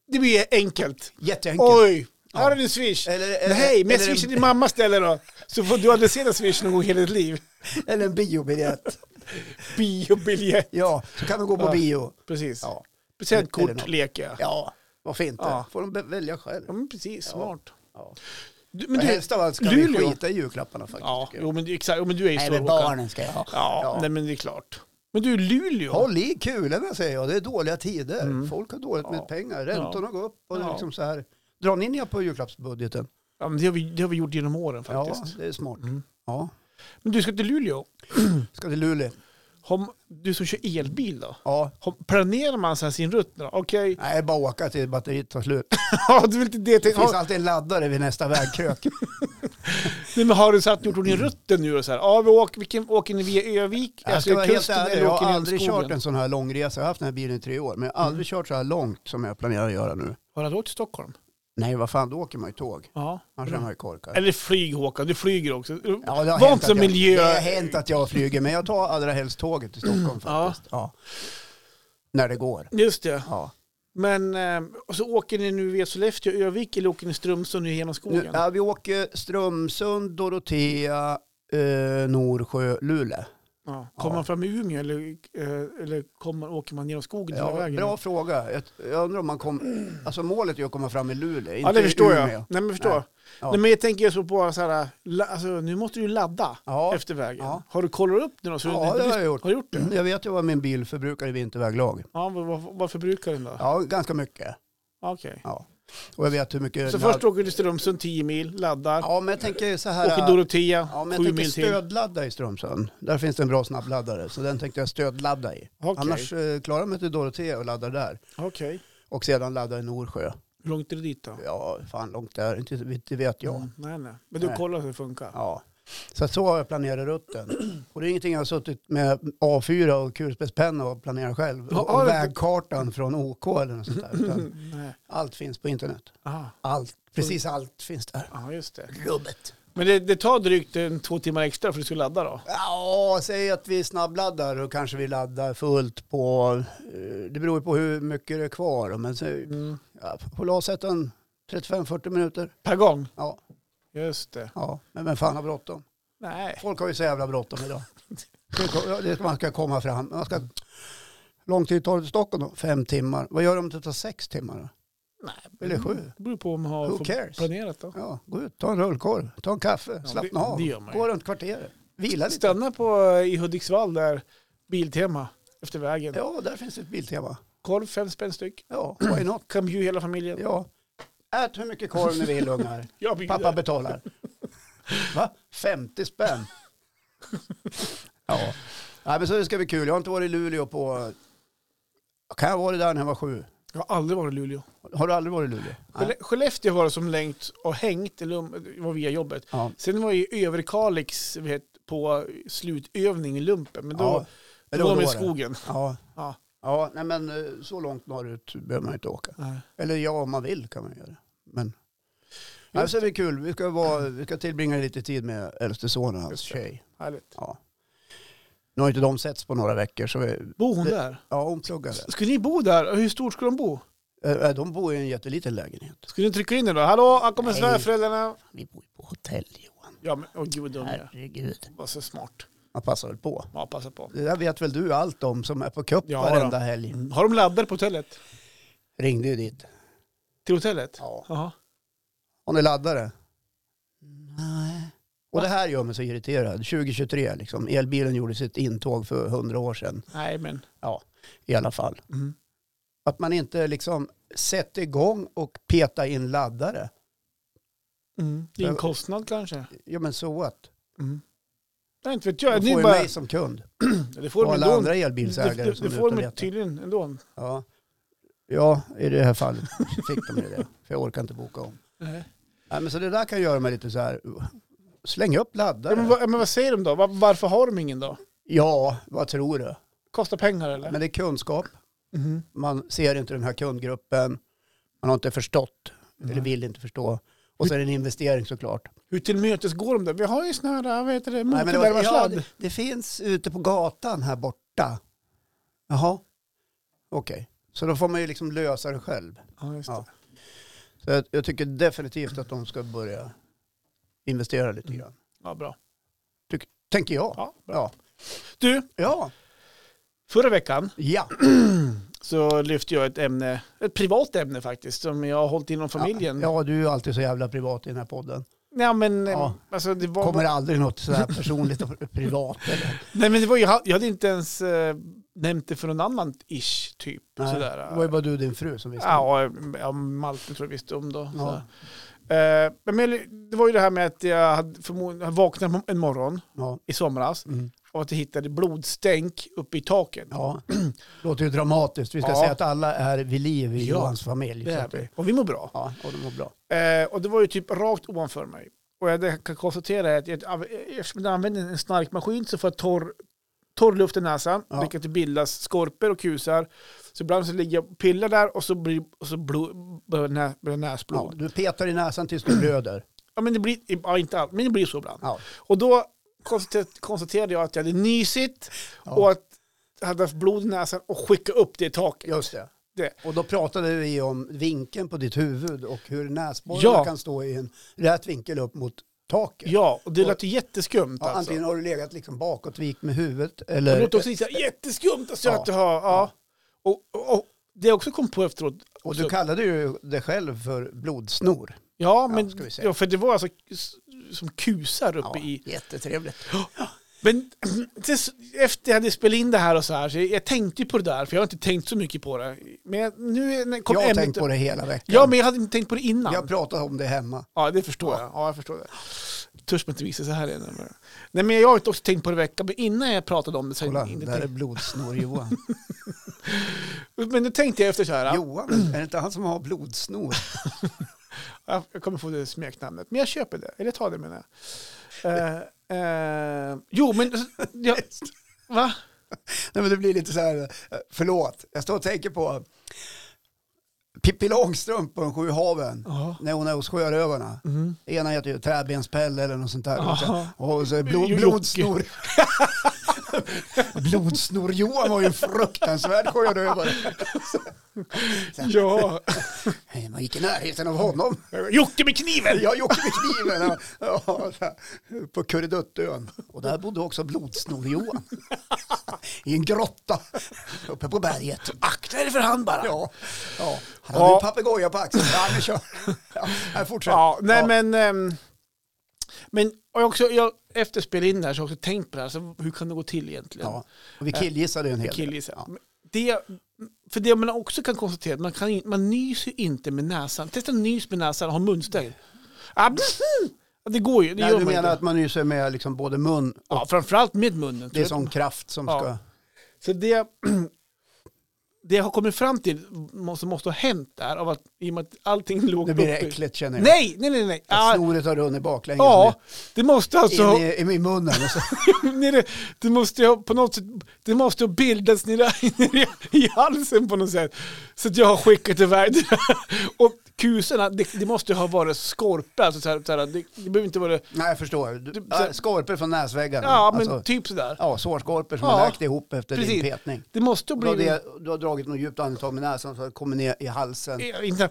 det blir enkelt.
Jätteenkelt.
Oj,
Ja.
här är din swish.
Eller, eller,
Nej, men
eller,
swishen din
en,
mamma ställer då. Så får du aldrig se den swish någon gång i hela ditt liv.
eller en biobiljett.
Biobiljett.
Ja, så kan de gå på
Ja.
bio.
Precis.
Ja, Eller
Presentkort
något.
leker jag.
ja varför inte?
Ja.
får de be- välja själv.
Ja, men precis. Smart.
Ja.
Du,
Men
men du,
helst av allt ska vi
Luleå.
skita i julklapparna faktiskt.
ja,
tycker jag.
jo, men, du- exakt, jo, men du är ju
Nej,
stor
men
Håkan.
barnen ska jag ha.
Ja,
Ja.
nej, men det är klart. Men du, Luleå.
Håll i kulorna säger jag, det är dåliga tider. Folk har dåligt med
Mm. Ja.
pengar, räntorna går upp och det är
Ja.
liksom så här. Drar ni ner på julklappsbudgeten?
Ja, men det, har vi, det har vi gjort genom åren
Ja,
faktiskt.
det är smart.
Mm.
Ja.
Men du ska till Luleå.
Ska till Luleå?
Har, du som kör elbil då?
Ja.
Har, planerar man så här sin rutt? då? Okej,
*laughs* Nej, bara åka till batteriet tar slut.
ja, du vill inte det.
Det
Tänk,
finns
har,
alltid en laddare vid nästa
*laughs*
vägkrök.
nej, men har du satt gjort ordning i rutten nu? Och så här, ja, vi åker, vilken, åker ni via Övik?
Jag ska vara helt ärlig, jag har aldrig kört
den.
en sån här lång resa. Jag har haft den här bilen i tre år, men jag har
Mm.
aldrig kört så här långt som jag planerar att göra nu.
Har du åkt till Stockholm?
Nej, vad fan, då åker man ju tåg.
Ja.
Annars är man ju korkad.
Eller flyg Håkan, du flyger också.
Ja, det har
Var
hänt
inte så
att jag-
miljö-
Det har hänt att jag flyger, men jag tar allra helst tåget till Stockholm faktiskt. Ja. När det går.
Just det.
Ja.
Men eh, och så åker ni nu via Sollefteå, Övik eller åker ni Strömsund nu genom skogen?
Nu, ja, vi åker Strömsund, Dorotea, eh, Norsjö, Luleå.
Ja. Kommer
Ja.
man fram i Umeå eller, eh, eller kommer, åker man genom skogen hela
Ja,
vägen?
bra fråga. Jag, jag undrar om man kom, alltså målet är ju att komma fram i Luleå, inte
ja, det förstår
i
jag.
Umeå.
Nej, men, förstår.
Nej.
Nej.
Ja.
men jag tänker så på så här, la- alltså, nu måste du ladda
Ja.
efter vägen.
Ja.
Har du kollat upp det då? Så
Ja,
du,
det har jag gjort.
Har du gjort det?
Mm, Jag vet ju vad min bil förbrukar i vinterväglag.
Ja, vad, vad, vad förbrukar den då?
Ja, ganska mycket.
Okej.
Ja. Och jag vet hur mycket...
Så först åker du till Strömsund 10 mil, laddar,
Ja, men jag tänker så här...
åker Dorotea
Ja, men
7
jag tänker
mil till.
stödladda i Strömsund. Där finns det en bra snabbladdare, så den tänkte jag stödladda i.
Okej.
Annars eh, klarar jag mig till Dorotea och laddar där.
Okej.
Och sedan laddar i Norsjö.
Hur långt är det dit då?
Ja, fan långt där, inte, inte vet jag.
Mm, Nej, nej. Men du
Nej.
kollar hur det funkar?
Ja. Så att så har jag planerat rutten. Och det är ingenting jag har suttit med A4 och kulspetspenna och planerat själv.
Ja,
Och, och
det-
vägkartan från OK eller något sånt där.
*clears throat*
Utan
Nej.
allt finns på internet.
Ah,
Allt, precis allt finns där.
ja, just det.
Rubbet.
Men det, det tar drygt en, två timmar extra för att du ska ladda då?
Ja, säg att vi snabbladdar och kanske vi laddar fullt på, eh, det beror ju på hur mycket det är kvar, men så, ja, på Lasätten 35-40 minuter.
Per gång?
Ja,
Just det.
ja, men vem fan har bråttom?
Nej.
Folk har ju så jävla bråttom idag. Det ko- ja, det- Man ska komma fram. Man ska... Lång tid tar det till Stockholm då? Fem timmar. Vad gör de om det tar sex timmar då?
Nej,
Eller sju?
Mm. Det beror på om man
Who
har fått
cares?
planerat då.
Ja, gå ut, ta en rullkorv, ta en kaffe,
Ja,
slappna
det-
av,
det gör man ju.
gå runt kvarteret, vila lite.
Stanna på, eh, i Hudiksvall där, Biltema, efter vägen.
Ja, där finns ett biltema.
Korv, fem spänn styck.
Ja, why not?
Kan bjuda hela familjen.
Ja. Ät hur mycket korv ni vill ungar.
Jag bjuder.
Pappa betalar. Va? 50 spänn? Ja. Nej, men så det ska bli kul. Jag har inte varit i Luleå på... Kan jag ha varit där när jag var sju?
Jag har aldrig varit i Luleå.
Har du aldrig varit i Luleå? Nej.
Skelle- Skellefteå har jag som längt och hängt, eller um- var via jobbet.
Ja.
Sen var jag i Överkalix vet, på slutövning i lumpen, men då,
Ja, men
då var de i
var det.
skogen.
Ja.
Ja.
Ja, nej men eh, så långt norrut behöver man inte åka.
Nej.
Eller ja, om man vill kan man göra det. Men nej, så är det kul. Vi ska, vara, vi ska tillbringa lite tid med äldste sonen, hans
Just det.
tjej.
Härligt.
Ja. Nu har inte de setts på några veckor. Så vi,
Bor hon
Det-
där?
ja, hon pluggade.
Ska ni bo där? Hur stort ska de bo?
Eh, De bor i en jätteliten lägenhet.
Ska ni trycka in det då? Hallå, här kommer
Nej.
svärföräldrarna.
Vi bor ju på hotell Johan.
Ja, men åh gud, de är
Herregud.
var så smart.
Man passar väl på.
Ja, passa på.
Det där vet väl du allt om som är på cup
Ja,
varenda helg.
Har de laddare på hotellet?
Ringde ju dit.
Till hotellet?
Ja.
Jaha.
Har ni laddare?
Nej.
Och det här gör mig så irriterad. 2023 liksom. Elbilen gjorde sitt intåg för 100 år sedan.
Nej, men.
Ja, i alla fall.
Mm.
Att man inte liksom sätter igång och petar in laddare.
Mm. Det är en
Jag-
kostnad kanske.
Ja men så what?
Mm. Nej, inte vet
Du
jag.
får
Ni
ju
bara, *clears throat*
mig som kund.
det får de
Och alla
ändå.
andra
Det,
elbilsägare
det,
som
det
är
får
ute och
de
letar.
tydligen ändå.
Ja. ja, i det här fallet fick de ju det. För jag orkar inte boka om.
Nej.
Nej, men så det där kan göra mig lite så här. Släng upp
Ja,
laddare.
men, vad, men vad säger de då? Var, varför har de ingen då?
Ja, vad tror du?
Kostar pengar eller?
Men det är kunskap.
Mhm.
Man ser inte den här kundgruppen. Man har inte förstått. Eller
Nej.
vill inte förstå. Och så är det en investering såklart.
Hur tillmötesgår de det? Vi har ju sån här, vad heter det,
Nej, men det, var, ja,
motorvärmarsladd.
det, det finns ute på gatan här borta. Jaha, okej. Så då får man ju liksom lösa det själv.
Ja, just
Ja.
det.
Så jag, jag tycker definitivt att de ska börja investera lite
Mm.
grann.
Ja, bra.
Tyck, tänker jag.
Ja, bra.
Ja.
Du,
Ja.
förra veckan
ja.
så lyfte jag ett ämne, ett privat ämne faktiskt, som jag har hållit inom familjen.
Ja, du är ju alltid så jävla privat i den här podden.
Nej, men, eh,
Ja.
alltså, det var,
Kommer aldrig något så här personligt och privat. Eller?
nej, men det var, jag jag hade inte ens eh, nämnt det för någon annan ish, typ.
Nej.
*laughs* Sådär.
Det var ju bara du och din fru som visste.
Ja, ja, Malte tror jag visste om då.
Ja.
sådär. Eh, men det var ju det här med att jag hade förmodligen vaknade en morgon
Ja.
i somras
Mm.
och att jag hittade blodstänk uppe i taket.
ja. *clears throat* Låter ju dramatiskt. Vi ska
Ja.
säga att alla är vid liv i
Ja,
Johans familj.
Det
så
är
att det-
vi. Och vi mår bra.
Ja, och de mår bra.
Eh, och det var ju typ rakt ovanför mig. Och jag- det jag kan konstatera är att jag, av- eftersom jag använder en stark maskin så får jag torr, torr luft i näsan,
Ja.
vilket det bildas skorpor och kusar. Så ibland så ligger jag och pillar där och så blir och så blod, börjar nä, börjar
Ja,
näsblod. Ja.
du petar i näsan tills du blöder.
men det blir, ja, inte allt, men det blir så ibland.
Ja.
Och då konstater- konstaterade jag att jag hade nysit
Ja.
och att jag hade haft blod i näsan och skickat upp det i taket.
Just det.
Det.
Och då pratade vi om vinkeln på ditt huvud och hur näsborrarna
Ja.
kan stå i en rät vinkel upp mot taket.
Ja, och det lät ju jätteskumt
Ja,
alltså.
Antingen har du legat liksom bakåtvikt med huvudet
Det
eller...
låter också så här, jätteskumt alltså
Ja.
att du har, ja. Och, och, och det jag också kom på efteråt,
Och du
också-
kallade ju dig själv för blodsnor.
ja
Ja,
men,
ska
ja,
vi säga.
för det var alltså s- som kusar uppe i
Jättetrevligt.
Men *clears throat* tills- efter jag hade spelat in det här och så här, så jag tänkte ju på det där, för jag har inte tänkt så mycket på det. Men jag, nu när- kom
jag har
ämnet-
tänkt på det hela veckan.
Ja, men jag hade inte tänkt på det innan.
Jag har pratat om det hemma.
Ja, det förstår jag. Ja, jag förstår det. Törs man inte visa så här igen. Nej, men jag har också tänkt på det i veckan, men innan jag pratade om det så...
Kolla,
inte
där är
tänkt-
blodsnor
*laughs*
Johan.
Men nu tänkte jag efter så här,
Johan, är det inte han som har blodsnor? *laughs*
jag jag kommer få det smeknamnet, men jag köper det. Eller tar det menar jag. Eh, eh, jo, men... Jag, va?
Nej, men det blir lite så här, eh, förlåt, jag står och tänker på Pippi Långstrump på de sju haven.
Ja.
När hon är hos sjörövarna. Ena heter ju Träbenspelle eller något sånt där.
Mm-hmm. Ja.
Och så är blod,
Jocke.
blodsnor. *laughs* Blodsnor-Johan var ju en fruktansvärd sjörövare.
Ja.
Nej, Man gick i närheten av honom.
Jocke med kniven!
Jag gjorde med kniven ja, ja, så här, på Kurreduttön. Och där bodde också blodsnor-Johan. I en grotta uppe på berget.
Akta er för han bara!
Ja, ja. Han hade
Ja.
en papegoja på axeln. Ja, nu kör ja, här Fortsätt.
Ja, nej
Ja.
men... ehm, men och jag också, jag, efter jag spelade in det här så har jag också tänkt på det här, så hur kan det gå till egentligen?
Ja. Och vi killgissade ju en hel del.
Killgissar.
Ja.
Men Det, för det man också kan konstatera, man, kan, in- man nyser ju inte med näsan. Testa nys med näsan och ha munstängd. Ah, bzzz! det går ju, det
Nej,
gör
du
man
menar
inte.
att man nyser med liksom både mun och
Ja, framförallt med munnen.
det är sån kraft som
Typ. Ja.
ska...
Så det, *clears throat* det jag har kommit fram till måste, måste ha hänt där, av att, i och med att allting låg
Nu blir det
uppe.
äckligt känner jag.
Nej, nej, nej. nej.
Att
Ah,
snoret har runnit baklänges
ja, det måste
nu.
alltså...
in
*laughs*
i, i min munnen. Och så, *laughs*
Nej, det, det måste ju ha- på något sätt, det måste ha bildats nere, nere i halsen på något sätt. Så att jag har skickat iväg det. *laughs* Och kusorna, det, det måste ju ha varit skorpor. Alltså så här, så här, det, det behöver inte vara...
nej, jag förstår. Du,
så-
skorpor från näsväggarna.
Ja, men
Alltså,
typ sådär.
Ja, sårskorpor som
Ja,
har läkt ihop efter
precis.
din petning.
Det måste ha
Du har,
blivit...
det, du har dragit något djupt andetag med näsan så har det kommit ner i halsen.
eh, Inte,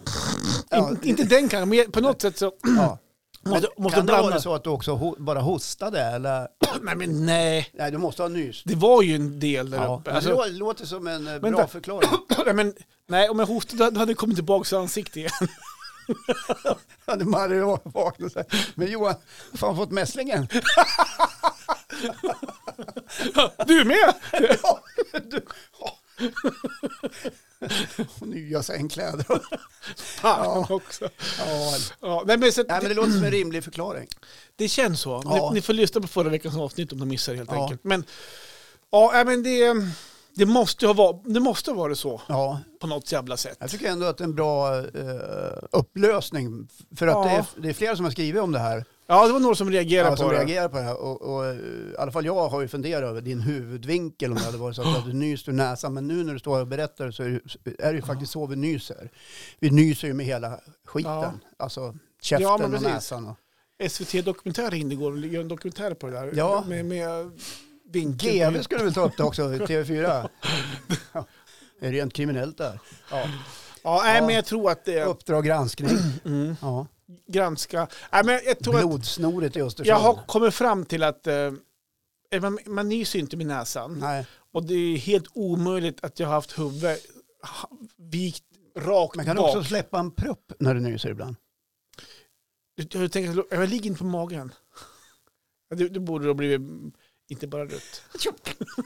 Ja.
inte, inte den kanske, men på något sätt så...
Ja.
*clears throat* Måste,
Men
måste
kan det
blanda.
vara så att du också ho bara hostade? Eller?
Nej, men nej.
Nej, du måste ha nyst.
Det var ju en del där
Ja.
uppe.
men
Alltså,
Det lå- låter som en eh, bra
Vänta.
förklaring. *laughs*
*clears throat* nej, men, nej, om jag hostade då hade det kommit tillbaka till ansiktet igen. *laughs*
Hade Marre vaknat och sagt, men Johan, fan fått mässlingen?
Du
*laughs*
är med!
Ja, du, ja.
*laughs*
Och nya sängkläder.
Fan också.
Ja.
Ja, nej, men så,
Nej, men det låter som en rimlig förklaring.
Det känns så.
Ja.
Ni, ni får lyssna på förra veckans avsnitt om ni missar helt
Ja.
enkelt. Men, ja, nej, men det, det måste ju ha varit, det måste ha varit så
Ja,
på något jävla sätt.
jag tycker ändå att det är en bra eh, upplösning. För att
Ja.
det, är, det är flera som har skrivit om det här.
Ja, det var några som reagerade
Ja,
på
som
det.
reagerar på det här. Och, och, eh, I alla fall jag har ju funderat över din huvudvinkel om det hade varit så att du hade nyst ur näsan. Men nu när du står här och berättar så är det, är det ju faktiskt så vi nyser. Vi nyser ju med hela skiten.
Ja.
Alltså käften
Ja,
och
men precis.
näsan. Och.
SVT Dokumentär in igår och gör en dokumentär på det där.
Ja.
Med, med vinkel.
GV skulle väl ta upp det också, TV4. Ja. Det är rent kriminellt där. Ja.
Ja, nej,
Ja.
men jag tror att det...
Uppdrag granskning. Ja.
Granska... Nej, men jag Mm. tror att
Blodsnoret i Östersund.
jag har kommit fram till att eh, man, man nyser ju inte med näsan.
Nej,
Och det är helt omöjligt att jag har haft huvudet ha- vikt rakt
man kan
bak.
också släppa en propp när du nyser ibland.
Jag, jag tänker, att jag ligger inte på magen. Ja, Det, det borde då blivit mm, inte bara rött. *laughs*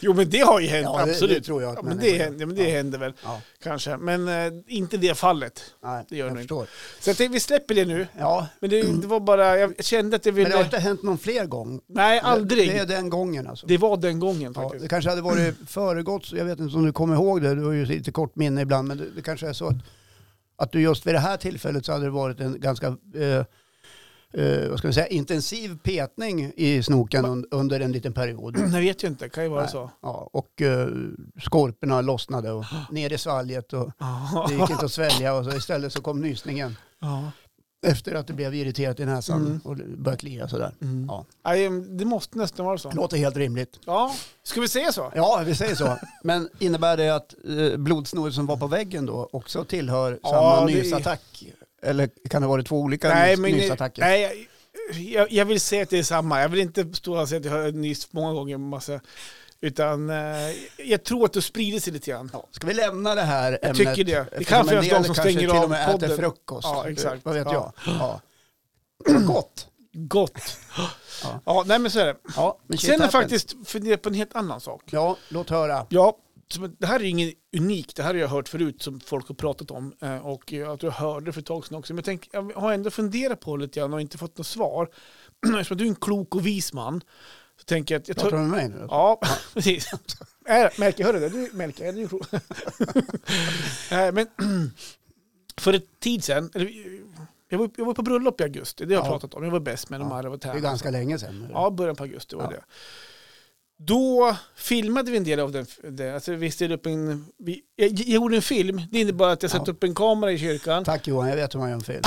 Jo men det har ju hänt,
Ja, det-
absolut.
det tror jag att
ja, men
människor
det,
gör.
händer, ja, men det
Ja.
händer väl
Ja.
kanske. Men eh, inte det fallet.
Nej,
Det gör
jag
nog
förstår.
Så att det, vi släpper det nu.
Ja,
Men det, det var bara, jag kände att jag
Mm. men det har
ville...
inte hänt någon fler gång.
Nej, aldrig.
Det är
Det,
den gången alltså.
var den gången
Ja,
faktiskt.
det kanske hade varit föregått, så jag vet inte om du kommer ihåg det, du har ju lite kort minne ibland, men det, det kanske är så att, att du just vid det här tillfället så hade det varit en ganska, eh, eh, vad ska vi säga, intensiv petning i snoken un, under en liten period.
*clears throat* Jag vet ju inte, kan ju vara
Nej.
så.
Ja, och eh, skorporna lossnade och ner i svalget och
Ja.
det gick inte att svälja och så istället så kom nysningen
Ja.
efter att det blev irriterat i näsan
Mm.
och började klia sådär.
Mm.
Ja.
Nej, Det måste nästan vara så.
Låter helt rimligt.
Ja, ska vi säga så?
Ja, vi säger så. Men innebär det att eh, blodsnoret som var på väggen då också tillhör
Ja,
samma
det är-
nysattack? Eller kan det vara två olika
Nej,
nys-
men,
nysattacker?
nej, jag, jag vill säga att det är samma. Jag vill inte stå och säga att jag har nyst många gånger. Massa, utan eh, jag tror att det sprider sig lite grann.
Ska vi lämna det här
Jag
ämnet?
tycker det. Det
Eftersom
kan
en
finnas
del
de som
kanske
stänger
till
av
och med äter
podden.
frukost.
Ja, exakt.
Vad vet
Ja.
jag?
*clears throat*
Ja. Vad gott.
Gott.
Ja.
ja. nej men så är det.
Ja, men shit
Sen har jag
happens.
faktiskt funderat på en helt annan sak.
Ja, låt höra.
Ja, som- det här är ju inget unikt. Det här har jag hört förut som folk har pratat om. eh, Och jag tror jag hörde det för ett tag sedan också. Men jag, tänk, jag har ändå funderat på det lite grann och inte fått något svar. *clears throat* Eftersom du är en klok och vis man. Så tänker jag att jag
Pratar
tar...
du med mig nu?
Ja, *laughs* precis. Äh, Melke, hör du det? Du, Melke, är du klok? *laughs* Nej, men *clears throat* för ett tid sedan, eller, jag var, jag var på bröllop i augusti, det har jag
Ja.
pratat om. Jag var bäst med de
Ja,
här och var
Det är
tärna.
ganska länge sedan. nu.
Ja, början på augusti var
Ja.
det. Då filmade vi en del av den. den alltså vi ställde upp en, vi, jag, jag gjorde en film, det innebar att jag satte
Ja.
upp en kamera i kyrkan.
Tack Johan, jag vet hur man gör en film.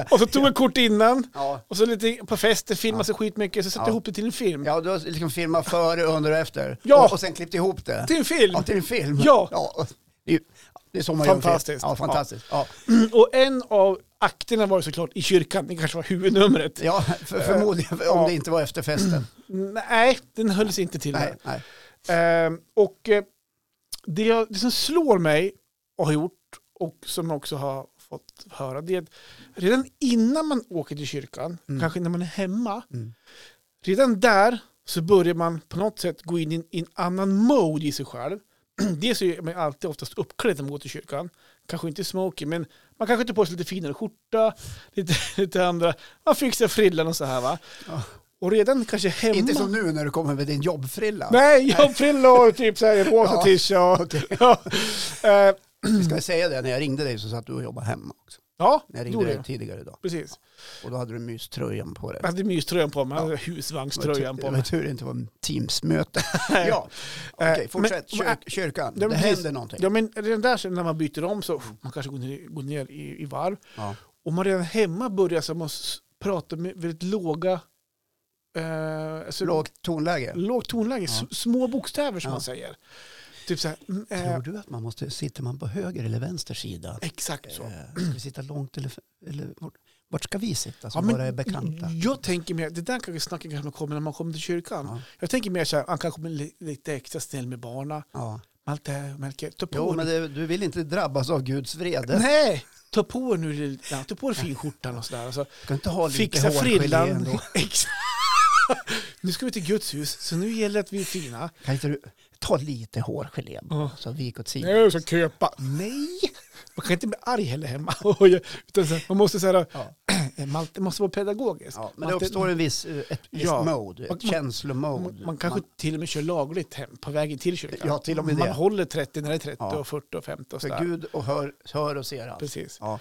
*laughs*
*laughs*
och så tog jag kort innan.
Ja,
Och så lite på festen, filmade sig skitmycket, så satte jag
Ja.
ihop det till en film.
ja du har liksom filmat före, under och efter.
Ja.
Och, och sen klippt ihop det.
Till en film!
Ja, till en film.
Ja.
och- Det är ju- det är så man gör en film.
Fantastiskt.
Ja, fantastiskt. Ja.
Och en av akterna var ju såklart i kyrkan, det kanske var huvudnumret.
Ja, för, förmodligen om
Eh, ja. Mm.
det inte var efter festen.
Nej, den höll sig inte till
Nej,
där.
nej.
Ehm, och eh, det, jag, det som slår mig och har gjort och som jag också har fått höra det är att redan innan man åker till kyrkan,
Mm.
kanske när man är hemma,
Mm.
redan där så börjar man på något sätt gå in i en, i en annan mode i sig själv. *clears throat* Dels är man alltid oftast uppklädd när man går till kyrkan. Kanske inte smoky, men man kanske tar på sig lite finare skjorta, lite, *laughs* lite andra. Man fixar frillan och så här va.
Ja.
Och redan kanske hemma...
Inte som nu när du kommer med din jobbfrilla.
Nej, jobbfrilla och typ så här rosa
Ja,
tisha och...
okej.
*laughs* Ja, eh,
Vi ska säga det, när jag ringde dig så satt du och jobbade hemma också.
ja
När jag
gjorde
ringde
det.
dig tidigare idag.
precis.
Och då hade du myströjan på dig.
Jag hade myströjan på mig,
Ja.
jag hade
Det var
husvagnströjan
tur-
på
Det var
mig.
tur det inte var en Teams-möte. ja, okej,
Eh,
fortsätt.
men- men-
Kyr, kyrkan,
Ja, men
det
precis.
händer någonting.
Ja, men redan där sen när man byter om så man kanske går ner, går ner i, i varv.
Ja.
Om man redan hemma börjar så man s- prata med väldigt låga... Eh, alltså,
Lågt tonläge.
Lågt tonläge, s- små bokstäver som
Ja.
man säger. Typ så här... mm, Eh,
Tror du att man måste, sitter man på höger eller vänster sida?
exakt så.
Eh, Ska vi sitta långt eller, eller vart, vart ska vi sitta som
men
bara är bekanta?
Jag tänker mer, det där kanske snacket kanske man kommer när man kommer till kyrkan.
Ja.
Jag tänker mer så här, han kanske blir li- lite extra snäll med barna.
Ja.
Allt det här, Melke, ta på
Jo,
er-
men det, du vill inte drabbas av Guds vrede.
Nej, ta på er nu, lilla- ja, ta på er finskjortan och sådär.
*laughs*
Alltså,
Ska inte ha lite
fixa
hårgelé
frillan. *laughs*
ändå?
Exakt. nu ska vi till Guds hus, så nu gäller det att vi är fina.
Kan inte du ta lite hårgelé bara,
Ja.
så vik åt sidan?
Nej, så köpa. Nej! Man kan inte bli arg heller hemma. *laughs* Oj, Utan så här, man måste säga,
Ja.
Malte måste vara pedagogisk.
Eh, Ja, men det
Malte-
uppstår en viss, eh, ett visst
Ja.
mode, ett
Och man-
känslomode.
Man, man kanske till och med kör lagligt hem på vägen till kyrkan.
Ja, till och med
man
det.
håller 30 när det är 30
Ja.
och 40 och 50 och
för
sådär.
Gud och hör, hör och ser allt.
Precis.
Ja.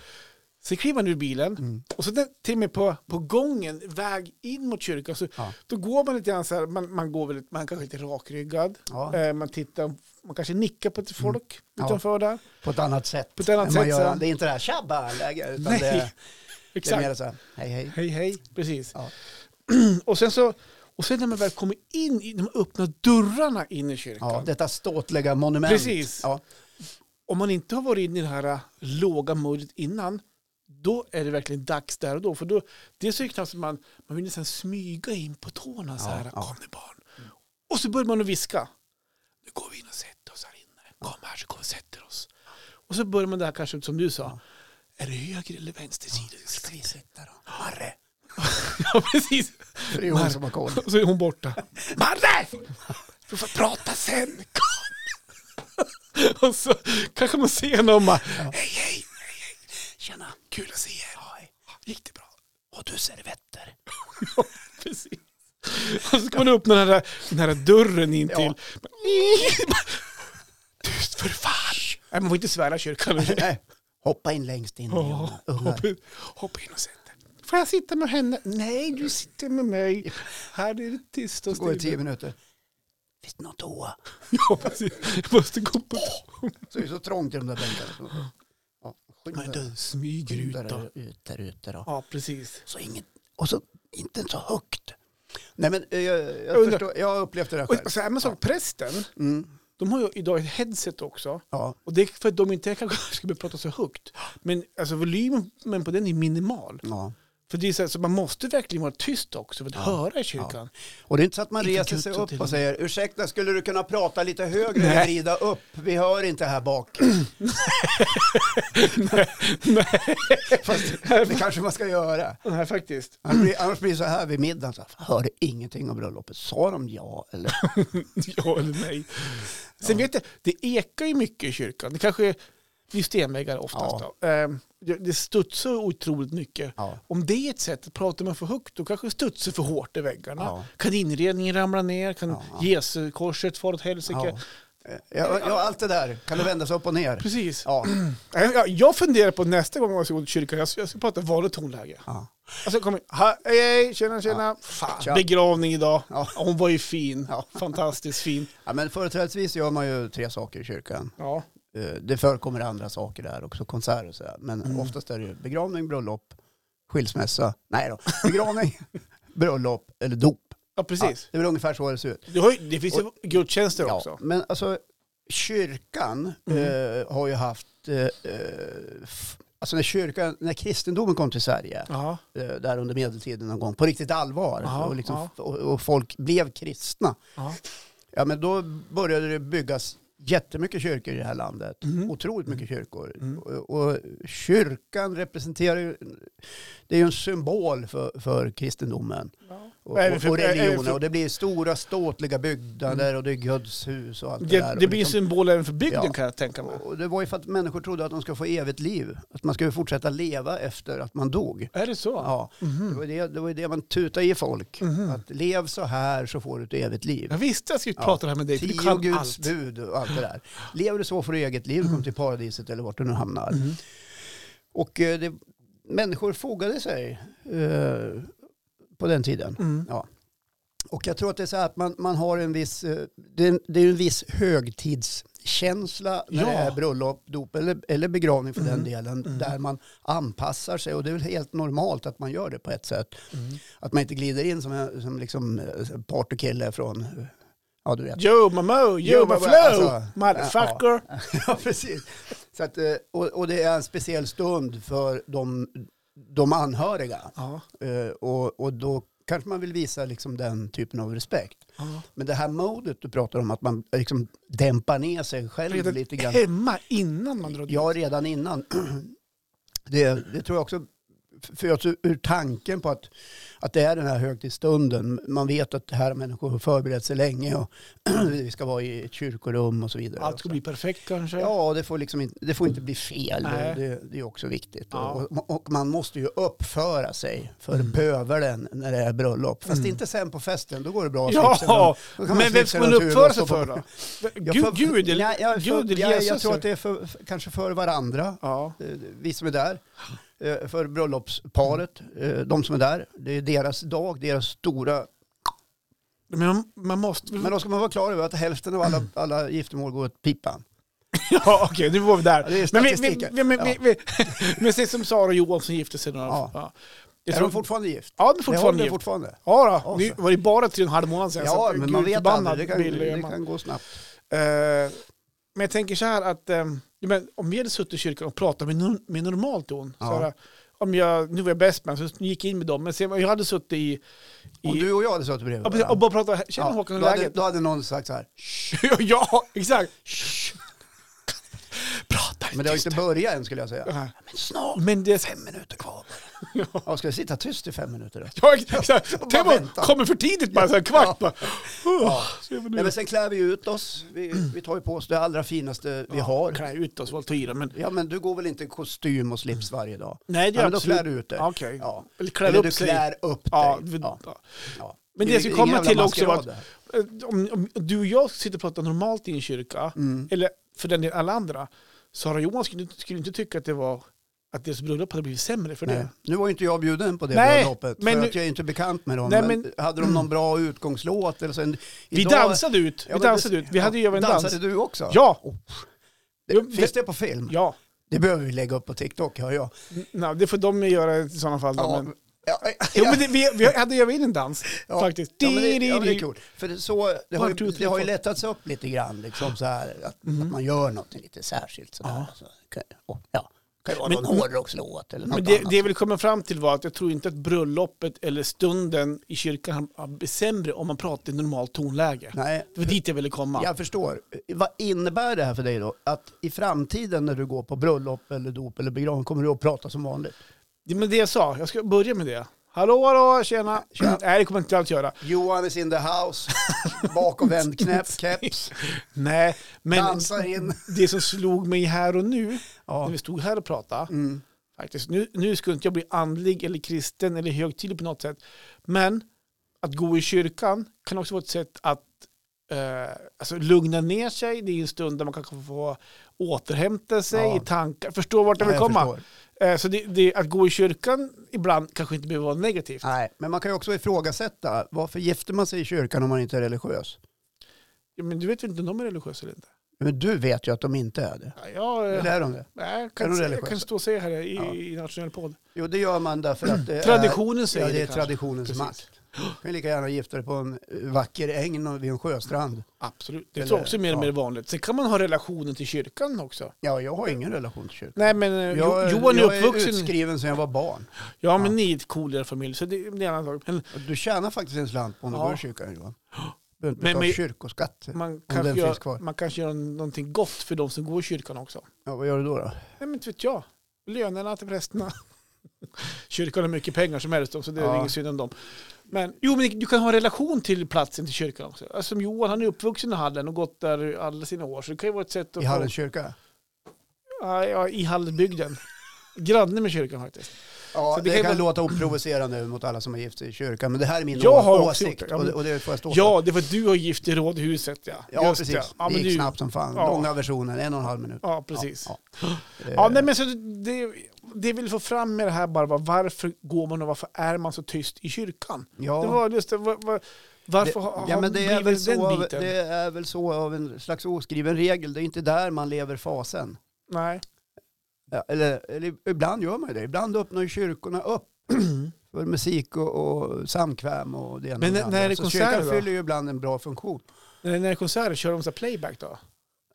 Sen kliver man ur bilen
Mm.
och så den, till och med på, på gången, väg in mot kyrkan, så,
Ja.
då går man lite grann så här, man, man går väldigt, man kanske är lite rakryggad,
Ja. Mm.
eh, man tittar, man kanske nickar på ett folk
Ja.
utanför där.
På ett annat sätt.
På ett annat
än man
sätt,
gör,
så-
det är inte det här tjabba-läget, utan
Nej,
det, är- det är
*laughs* Exakt.
mer så här, hej hej.
Hej hej, precis.
Ja.
*clears throat* Och sen så, och sen när man väl kommer in, i- när man öppnar dörrarna in i kyrkan,
Ja, detta ståtliga monument.
Precis.
Ja.
om man inte har varit inne i det här äh, låga modet innan, då är det verkligen dags där och då. För då, det så är det knappt som man, man vill nästan smyga in på tårna så
Ja,
här,
ja.
kom nu barn. Och så börjar man att viska. Nu går vi in och sätter oss här inne. Kom här så kommer vi och sätter oss. Och så börjar man det här kanske som du sa. Är det höger eller vänster sida? vi ska
Ska vi
sitta?"
sitta då? Marre.
*laughs* Ja, precis.
För det är hon som har koll.
Och så är hon borta. Marre! Du får prata sen. Kom! *laughs* Och så kanske man ser någon bara, hej hej,
Tjena,
Kul att se er. Gick det bra?
har du servetter?
*laughs* Ja, precis. Och så ska man öppna den här, den här dörren in till. Tyst för fan! Nej, man får inte svära i kyrkan.
Nej. Hoppa in längst in.
*laughs* Ja,
Oh, ungar.
hoppa in- Hoppa in och sätt dig. Får jag sitta med henne? Nej, du sitter med mig. Här är det tyst och
Så går det tio
stilla.
minuter. Finns det någon toa?
*laughs* Ja, precis. Jag måste gå på
Så det är så trångt i de där bänkarna. Ja, skynda
Men
dig.
du smyger ut
Skynda
då.
dig ut där ute då.
Ja, precis.
Så inget, och så inte så högt. Nej men eh, jag, jag,
undrar-
förstår, jag har upplevt det där själv.
Och så här med sak, prästen,
Mm,
de har ju idag ett headset också.
ja.
Och det är för att *laughs* de inte kanske ska börja prata så högt. Men alltså volymen men på den är minimal.
Ja.
För det är så, här, så man måste verkligen vara tyst också för att höra i kyrkan.
Och det är inte så att man
Inte
reser sig
kutten
upp
till
och
och
säger ursäkta, skulle du kunna prata lite högre eller
Nej.
vrida upp? Vi hör inte här
*laughs*
bak. *laughs* Fast det kanske man ska göra.
Nej, faktiskt.
Annars blir, annars blir det så här vid middagen, så här, hörde ingenting om bröllopet. Sa de ja
*laughs*
eller? *laughs*
ja eller nej. Sen vet jag, det ekar ju mycket i kyrkan. Det kanske är det är ju stenväggar oftast.
Ja.
Då. Ehm, Det det studsar otroligt mycket.
Ja.
Om det är ett sätt att prata med för högt, då kanske det studsar för hårt i väggarna.
Ja.
Kan inredningen ramla ner? Kan
Ja.
Jesu korset fara åt helsike?
Ja. Ja, ja, allt det där. Kan det vändas upp och ner?
Precis.
Ja.
Jag- Jag, jag funderar på nästa gång jag ska gå till kyrkan, jag ska, jag ska prata vanligt tonläge.
Ja.
Alltså kom in. Ha, hej, hej, tjena, tjena. Fan,
Tja.
begravning idag.
Ja.
Hon var ju fin.
Ja.
Fantastiskt fin.
ja, men företrädesvis gör man ju tre saker i kyrkan.
Ja.
Eh, Det förekommer andra saker där också, konserter och sådär. Men
Mm.
oftast är det ju begravning, bröllop, skilsmässa. Nej då, begravning, *laughs* bröllop eller dop.
ja,
Ja,
precis.
det är väl ungefär så det ser ut.
Du har ju, det finns ju gudstjänster
Ja,
också. Mm.
men alltså, kyrkan eh, har ju haft... Eh, eh, f- alltså när, kyrkan, när kristendomen kom till Sverige,
Ja.
eh, där under medeltiden någon gång, på riktigt allvar,
Ja,
och, liksom,
ja.
f- och, och folk blev kristna,
Ja.
ja men då började det byggas jättemycket kyrkor i det här landet.
Mhm.
Otroligt mycket
Mm.
kyrkor. Och, och kyrkan representerar ju, det är ju en symbol för, för kristendomen och, och,
Även för-
och
även
religionen.
för-
Och det blir stora ståtliga byggnader och det är Guds hus och allt det, där.
Det, det
och,
blir en
liksom,
symbol även för bygden
Ja.
kan jag tänka mig.
och det var ju för att människor trodde att de skulle få evigt liv. Att man skulle fortsätta leva efter att man dog.
Är det så? Mhm.
Ja, det, var det, det var ju det man tutade i folk. Att lev så här så får du ett evigt liv.
Jag visste jag skulle prata det här med dig, för du
Tio
kan
Guds
allt. Mm.
bud och allt
*laughs*
det där. Lever du så får du eget liv, kom till paradiset eller vart du nu hamnar.
Mhm.
Och eh, det, människor fogade sig eh, på den tiden.
Mhm.
Ja. Och jag tror att det är så här att man, man har en viss, eh, det, är en- det är en viss högtidskänsla när
Ja. Mm.
det är bröllop, dop eller, eller begravning för den delen, där man anpassar sig. Och det är väl helt normalt att man gör det på ett sätt. Att man inte glider in som, en- som liksom eh, partykille från, eh, ja du vet, *laughs*
Yo, mamo, yo, my
men
flow,
alltså-
motherfucker.
Ja, precis. Så att, eh, och, och det är en speciell stund för de, de anhöriga.
Ja.
Eh, Och, och då kanske man vill visa liksom den typen av respekt.
Ja.
Men det här modet du pratar om, att man liksom dämpar ner sig själv
Redan
lite
*laughs*
grann.
hemma innan man drar dit.
Ja, redan innan. *clears throat* Det, det tror jag också föds ur- ur tanken på att, att det är den här högtidsstunden. Man vet att det här människor har förberett sig länge och *clears throat* vi ska vara i ett kyrkorum och så vidare.
Allt ska bli perfekt kanske.
Ja, det får, liksom inte, det får inte bli fel.
Nej.
Det, det är också viktigt.
Ja. Mm.
Och, och man måste ju uppföra sig för pövelen när det är bröllop. Fast inte sen på festen, då går det bra att snicksa
Ja,
runt. Då kan
men vem
snicksa
ska man
runt huvudet
uppföra
och
sig
stå
för
på- Ja,
då? Gud,
för-
Gud,
Nej,
eller-
jag,
Gud,
för,
eller
jag,
Jesus.
jag tror att det är för, för, kanske för varandra,
Ja,
eh, vi som är där. eh, För bröllopsparet, eh, de som är där. Det är deras dag, deras stora...
men man- man måste...
Men då ska man vara klar över att hälften av alla, alla giftermål går åt pipan.
Ja, okej, nu var vi där.
Ja, det är
men, vi, vi,
statistiken.
vi, men,
Ja.
vi, *laughs* vi, men se som Sara och Johan som gifte sig. Några,
Ja.
ja. Jag
Är
tror,
de fortfarande gift?
ja, de är
Det håller
fortfarande gift.
fortfarande.
Ja,
Ja,
då.
så.
Nu var det bara tre och en halv månad sedan.
Ja,
så
men
gud
man vet
förbannat,
aldrig. Det kan,
Bill och
det
Emma.
kan gå snabbt.
Eh, men jag tänker så här att eh, ja, men om vi hade suttit i kyrkan och pratat med, nor- med normal ton.
Ja.
Så här, om jag, nu var jag bäst man, så gick jag in med dem. Men sen, jag hade suttit i...
Om
i
du och jag hade suttit bredvid
ja, precis, och bara pratat, tjena
Ja,
Håkan, hur
då,
är
hade,
läget? *laughs*
då hade någon sagt så här.
ja, exakt. Prata
Men det har ju inte börjat än skulle jag säga.
Nej.
Men snart,
Men det...
fem minuter kvar
*laughs*
bara. Ja, ska jag sitta tyst i fem minuter då?
Ja, exakt. Tänk om
vänta.
kommer för tidigt bara, så här, kvart bara. Oh,
Nej, men sen klär vi ut oss. Vi, vi tar ju på oss det allra finaste vi har.
Klä ut oss, våldta i dem. Men...
Ja, men du går väl inte i kostym och slips varje dag?
Nej, det
Ja,
är
men då
absolut.
klär du ut dig.
Okej.
Ja.
Eller klär
Eller
upp
du
sig.
klär upp dig.
Ja, vi-
Ja.
ja.
Ja.
Men det jag ska
Ingen
komma
jävla
till också var att
maskerad.
eh, om, om du och jag sitter och pratar normalt i en kyrka,
Mm.
eller för den delen alla andra, Sara och Johan skulle, skulle inte tycka att det var att deras bröllop hade blivit sämre för
Nej.
det.
Nu var ju inte jag bjuden på det
Nej,
bröllopet, för
men nu-
att jag är inte bekant med dem.
Nej,
men,
men-
hade de någon bra utgångslåt? Eller så? En-
Vi
Idag-
dansade ut.
Ja,
Vi
men
dansade
precis.
ut. Vi hade ju
Ja,
även
dansade
dans.
du också?
Ja, Jo,
Det, finns det på film?
ja.
Det behöver vi lägga upp på TikTok, hör jag.
Nej, det får de göra i sådana fall. Då, men...
ja,
Jo, men det, vi, vi hade ju även en dans
ja.
faktiskt.
Ja, men det, ja, men det är kul. För det, så, det, har
One, two,
ju,
three,
det har ju
four. Mhm.
lättats upp lite grann, liksom så här, att, att man gör något lite särskilt. Så där,
Ja.
Så, kan- och, ja. kan ju vara
Men-
någon hårdrockslåt eller något
Men det,
annat.
det jag vill komma fram till var att jag tror inte att bröllopet eller stunden i kyrkan blir sämre om man pratar i normalt tonläge.
Nej,
Det var dit jag ville komma.
jag förstår. Vad innebär det här för dig då? Att i framtiden när du går på bröllop eller dop eller begravning kommer du att prata som vanligt?
Det men det jag sa, jag ska börja med det. Hallå, hallå, tjena. Nej, det kommer jag inte alls göra.
Johan is in the *laughs* house, bakom vänd knäpp, keps,
*laughs* Nej, men
dansar in.
det som slog mig här och nu,
Ja. Mm.
när vi stod här och pratade, faktiskt, nu, nu skulle inte jag bli andlig eller kristen eller högtidlig på något sätt, men att gå i kyrkan kan också vara ett sätt att eh, alltså lugna ner sig. Det är en stund där man kanske får få återhämta sig
Ja.
i tankar. Förstår vart jag
Ja,
vill
jag
komma?
förstår.
Eh, så det, det, att gå i kyrkan ibland kanske inte behöver vara negativt.
Nej, men man kan ju också ifrågasätta varför gifter man sig i kyrkan om man inte är religiös?
Ja, men du vet väl inte om de är religiösa eller inte?
Men du vet ju att de inte är det.
Ja, jag,
Hur
eh,
är de det?
nej, jag
Är
kan,
de
säga- jag
religiösa?
kan stå och säga här i,
Ja.
i nationell podd.
Jo, det gör man därför att det
Traditionen
är,
säger
ja, det är
kanske.
traditionens
Precis.
makt. Du kan ju lika gärna gifta dig på en eh, vacker äng och vid en sjöstrand.
Absolut. Det
Eller-
tror jag också är mer och
ja.
mer vanligt. Sen kan man ha relationen till kyrkan också.
Ja, jag har ingen relation till kyrkan.
Nej, men eh,
Jag,
Jo- Johan är
jag är
uppvuxen...
utskriven sedan jag var barn.
ja, men ni är ett coolare familj, så det, det är en annan sak. Men
Och Du tjänar faktiskt en slant på om du
Ja.
går i kyrkan, Johan. Du behöver inte
Men-
betala
men-
kyrkoskatt.
man
den
kanske,
finns kvar.
gör, man kanske gör någonting gott för de som går i kyrkan också.
Ja, vad gör du då? då?
Nej, men inte vet jag. Lönerna till prästerna. *laughs* kyrkan har mycket pengar som helst, så det är
Ja.
ingen synd om dem. Men, jo, men du kan ha en relation till platsen till kyrkan också. Alltså, Som Johan, han är uppvuxen i Hallen och gått där alla sina år, så det kan ju vara ett sätt att...
I
få-
Hallens kyrka?
Ja, ja, i Hallbygden. Granne med kyrkan faktiskt.
Ja,
Så
det,
det kan
kan
väl-
låta oprovocerande mot alla som har gift sig i kyrkan, men det här är min
Jag
å-
har också
åsikt
gjort det, ja,
och, det,
men-
och det får jag stå för.
Ja, det var du och gift i rådhuset ja.
Ja,
Just
precis.
Det, ja,
det gick
men du,
snabbt som fan.
Ja.
Långa versionen, en och en halv minut.
Ja, precis. Ja,
Ja, ja. Eh,
nej, men så det, det jag vill få fram med det här bara var varför går man och varför är man så tyst i kyrkan?
ja.
Det var just det, var, var,
Det-
varför har
ja, men det, är väl
blivit den
så av,
biten?
det är väl så av en slags oskriven regel. Det är inte där man lever fasen.
Nej.
Ja, eller, eller ibland gör man ju det. Ibland öppnar ju kyrkorna upp *clears throat* för musik och, och samkväm och det ena
Men
och det
när-
andra.
när är det
så
konserter
kyrkan
då?
fyller ju ibland en bra funktion.
När, när det är konserter, kör de så här playback då?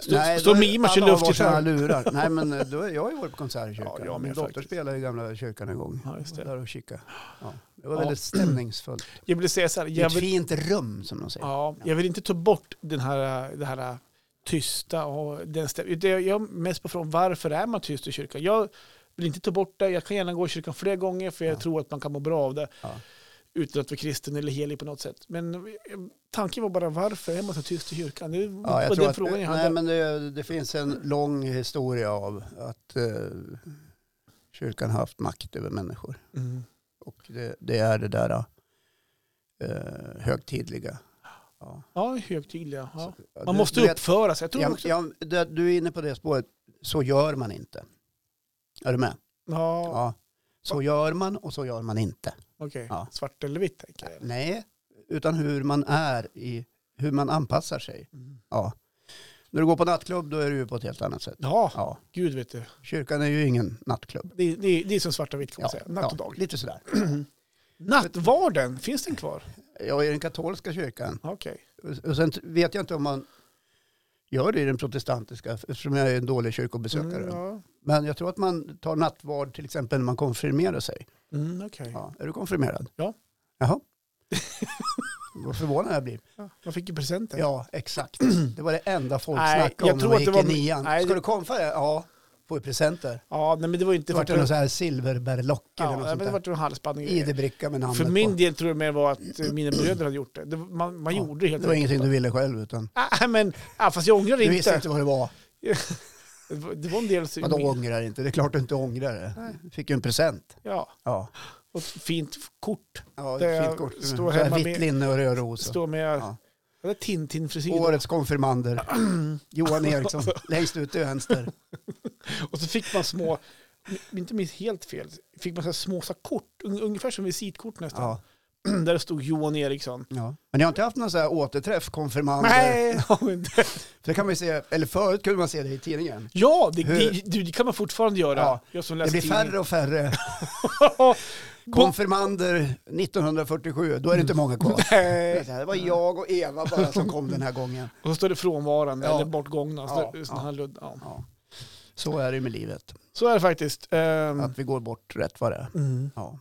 Stå-
Nej,
Står
då-
mimar kör
alla har varsina
luftgitarr? *laughs*
lurar. Nej, men eh, då, jag har ju varit på konsert i kyrkan.
Ja, jag
Min
med
dotter
faktiskt.
spelade i gamla kyrkan en gång.
Ja, just
Jag
det.
var där och kika. Ja, det var
Ja.
väldigt stämningsfullt.
Jag vill säga så här,
Det är
jag
ett
vill,
fint rum som de säger.
ja, jag vill inte ta bort den här, det här äh, tysta och den stäm- utan Jag jag är mest på frågan varför är man tyst i kyrkan? Jag vill inte ta bort det, jag kan gärna gå i kyrkan fler gånger för jag
Ja.
tror att man kan må bra av det.
Ja.
utan att vara kristen eller helig på något sätt. Men eh, tanken var bara varför är man så tyst i kyrkan? Det var
Ja, jag
den
tror att,
frågan jag hade.
nej, men det, det finns en lång historia av att eh, kyrkan har haft makt över människor.
Mm.
Och det, det är det där eh, högtidliga. Ja.
Ja, högtidliga. Ja.
Ja,
Man
du-
måste
du vet-
uppföra sig. Jag tror
ja,
också. Ja,
ja, det, du är inne på det spåret. Så gör man inte. Är du med? Ja. Så gör man och så gör man inte.
okej.
Ja.
Svart eller vitt tänker jag.
Nej, utan hur man är i hur man anpassar sig.
Mm.
Ja. När du går på nattklubb då är du ju på ett helt annat sätt.
Ja,
Ja.
gud vet du.
Kyrkan är ju ingen nattklubb.
Det, är- det, är- det är som svart och vitt kan man säga. Natt och dag.
lite sådär.
Nattvarden, finns den kvar?
Ja, i den katolska kyrkan.
Okej.
Och- Och sen t- vet jag inte om man gör det i den protestantiska, eftersom jag är en dålig kyrkobesökare.
Mm, ja.
Men jag tror att man tar nattvard till exempel när man konfirmerar sig.
Mm, okej.
Ja. Är du konfirmerad?
Ja. *laughs*
Jaha. Vad förvånad jag blir.
Ja, Man fick ju presenter.
Ja, exakt. Det var det enda folk
Nej,
snackade
jag
om när
tror
man
att
gick
det
i
var-
nian.
nej,
Ska
det-
du konfirmera? Ja, får ju presenter.
Ja, nej, men det var ju inte...
Det vart
Vart
det någon så här silverbärlocker
ja,
eller något
men
sånt
det
där.
vart en halsband och grejer.
ID-bricka med namnet
För min
på.
del tror jag mer var att eh, mina bröder hade gjort det. det var- man man
Mm. Ja,
gjorde det helt
Det var
enkelt.
ingenting du ville själv utan
Nej, men ja, fast jag ångrar
du
inte.
visste inte vad det var.
Det var- Det var en del... som-
Vadå ångrar inte? Det är klart du inte ångrar det. Fick ju en present.
Ja,
Ja,
och ett fint kort.
ja
Det
det fint kort.
står
Så här
hemma
vitt
med-
linne och rödrosa.
Står typ med...
Ja.
Det är Tintin-frisyr.
Årets konfirmander. *clears throat* Johan
*laughs*
Eriksson, längst ut till vänster.
Och så fick man små... om inte minst helt fel. Fick man så här små så här kort. un- Ungefär som visitkort nästan.
Ja,
*clears throat* Där det stod Johan Eriksson.
ja. Men jag har inte haft någon så här återträff, konfirmander.
Nej! *laughs* ja, men det-
För det kan man ju se, eller förut kunde man se det i tidningen.
Ja, det,
Hur-
det, du, det kan man fortfarande göra.
Ja,
Jag som
Det
läser
blir färre och
*laughs*
färre.
tidningen.
Konfirmander 1947, då är det inte många kvar. Det är
Nej.
så här, Det var jag och Eva bara som kom den här gången.
Och så står det frånvarande
Ja.
eller bortgångna. Så
Ja,
det- sån
ja.
här ludd. Ja.
Ja. Så är det med livet.
Så är det faktiskt. Ehm,
Att vi går bort rätt vad det är.
mm.
Ja,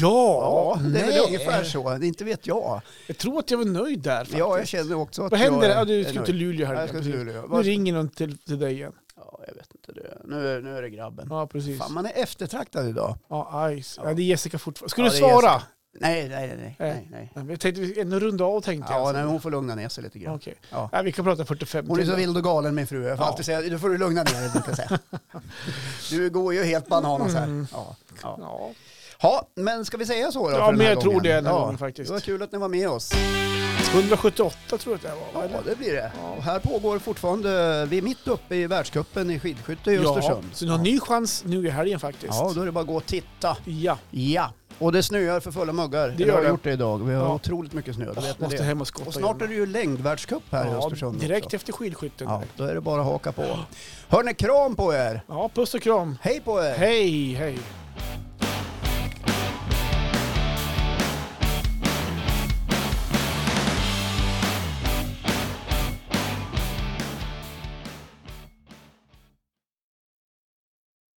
Ja,
ja det är
nej.
väl ungefär så. Inte vet jag.
Jag tror att jag var nöjd där faktiskt.
Ja, jag känner också att
Vad händer?
jag
Ja, du
är
ska
nöjd.
till Luleå här.
Ja, jag ska till
Precis.
Luleå.
Nu
Vad-
ringer någon till, till dig igen.
Ja, jag vet inte. Det. Nu, är- nu är det grabben.
Ja, precis.
Fan, man är eftertraktad idag.
Ja, aj. Ja, det är Jessica fortfarande. Ska
Ja,
du
det är Jessica.
svara?
Nej, nej, nej. nej,
Nej.
nej.
Nej, men Jag tänkte vi- en runda av tänkte
Ja,
jag.
nej, hon får lugna ner sig lite grann.
Okej.
Ja.
Nej, vi kan prata 45
Hon är så
timmar.
vild och galen min fru. Jag får
Ja.
alltid säga, nu får du lugna ner dig brukar jag
*laughs*
säga. Du går ju helt bananas här. Ja, ja.
Ja.
ja men ska vi säga så då?
Mm. Ja,
för den
men
här
jag tror
gången?
det den här gången faktiskt.
Det var kul att ni var med oss.
178 tror jag att det var.
Ja,
eller?
det blir det. Och här pågår fortfarande, vi är mitt uppe i världscupen i skidskytte i
Ja,
Östersund.
så ni har en ny chans nu i helgen faktiskt.
Ja, då är det bara att gå och titta.
Ja,
Ja, och det snöar för fulla muggar.
Det
vi
gör
har
det.
gjort det idag. Vi har
Ja.
otroligt mycket snö, det vet ni
måste
det.
hem och skotta
Och snart är
igen.
det ju längdvärldscup här i Östersund
direkt
också.
efter skidskytten.
Ja,
Ja.
då är det bara att haka på. Hörni, kram på er!
ja, puss och kram.
Hej på er!
Hej, hej.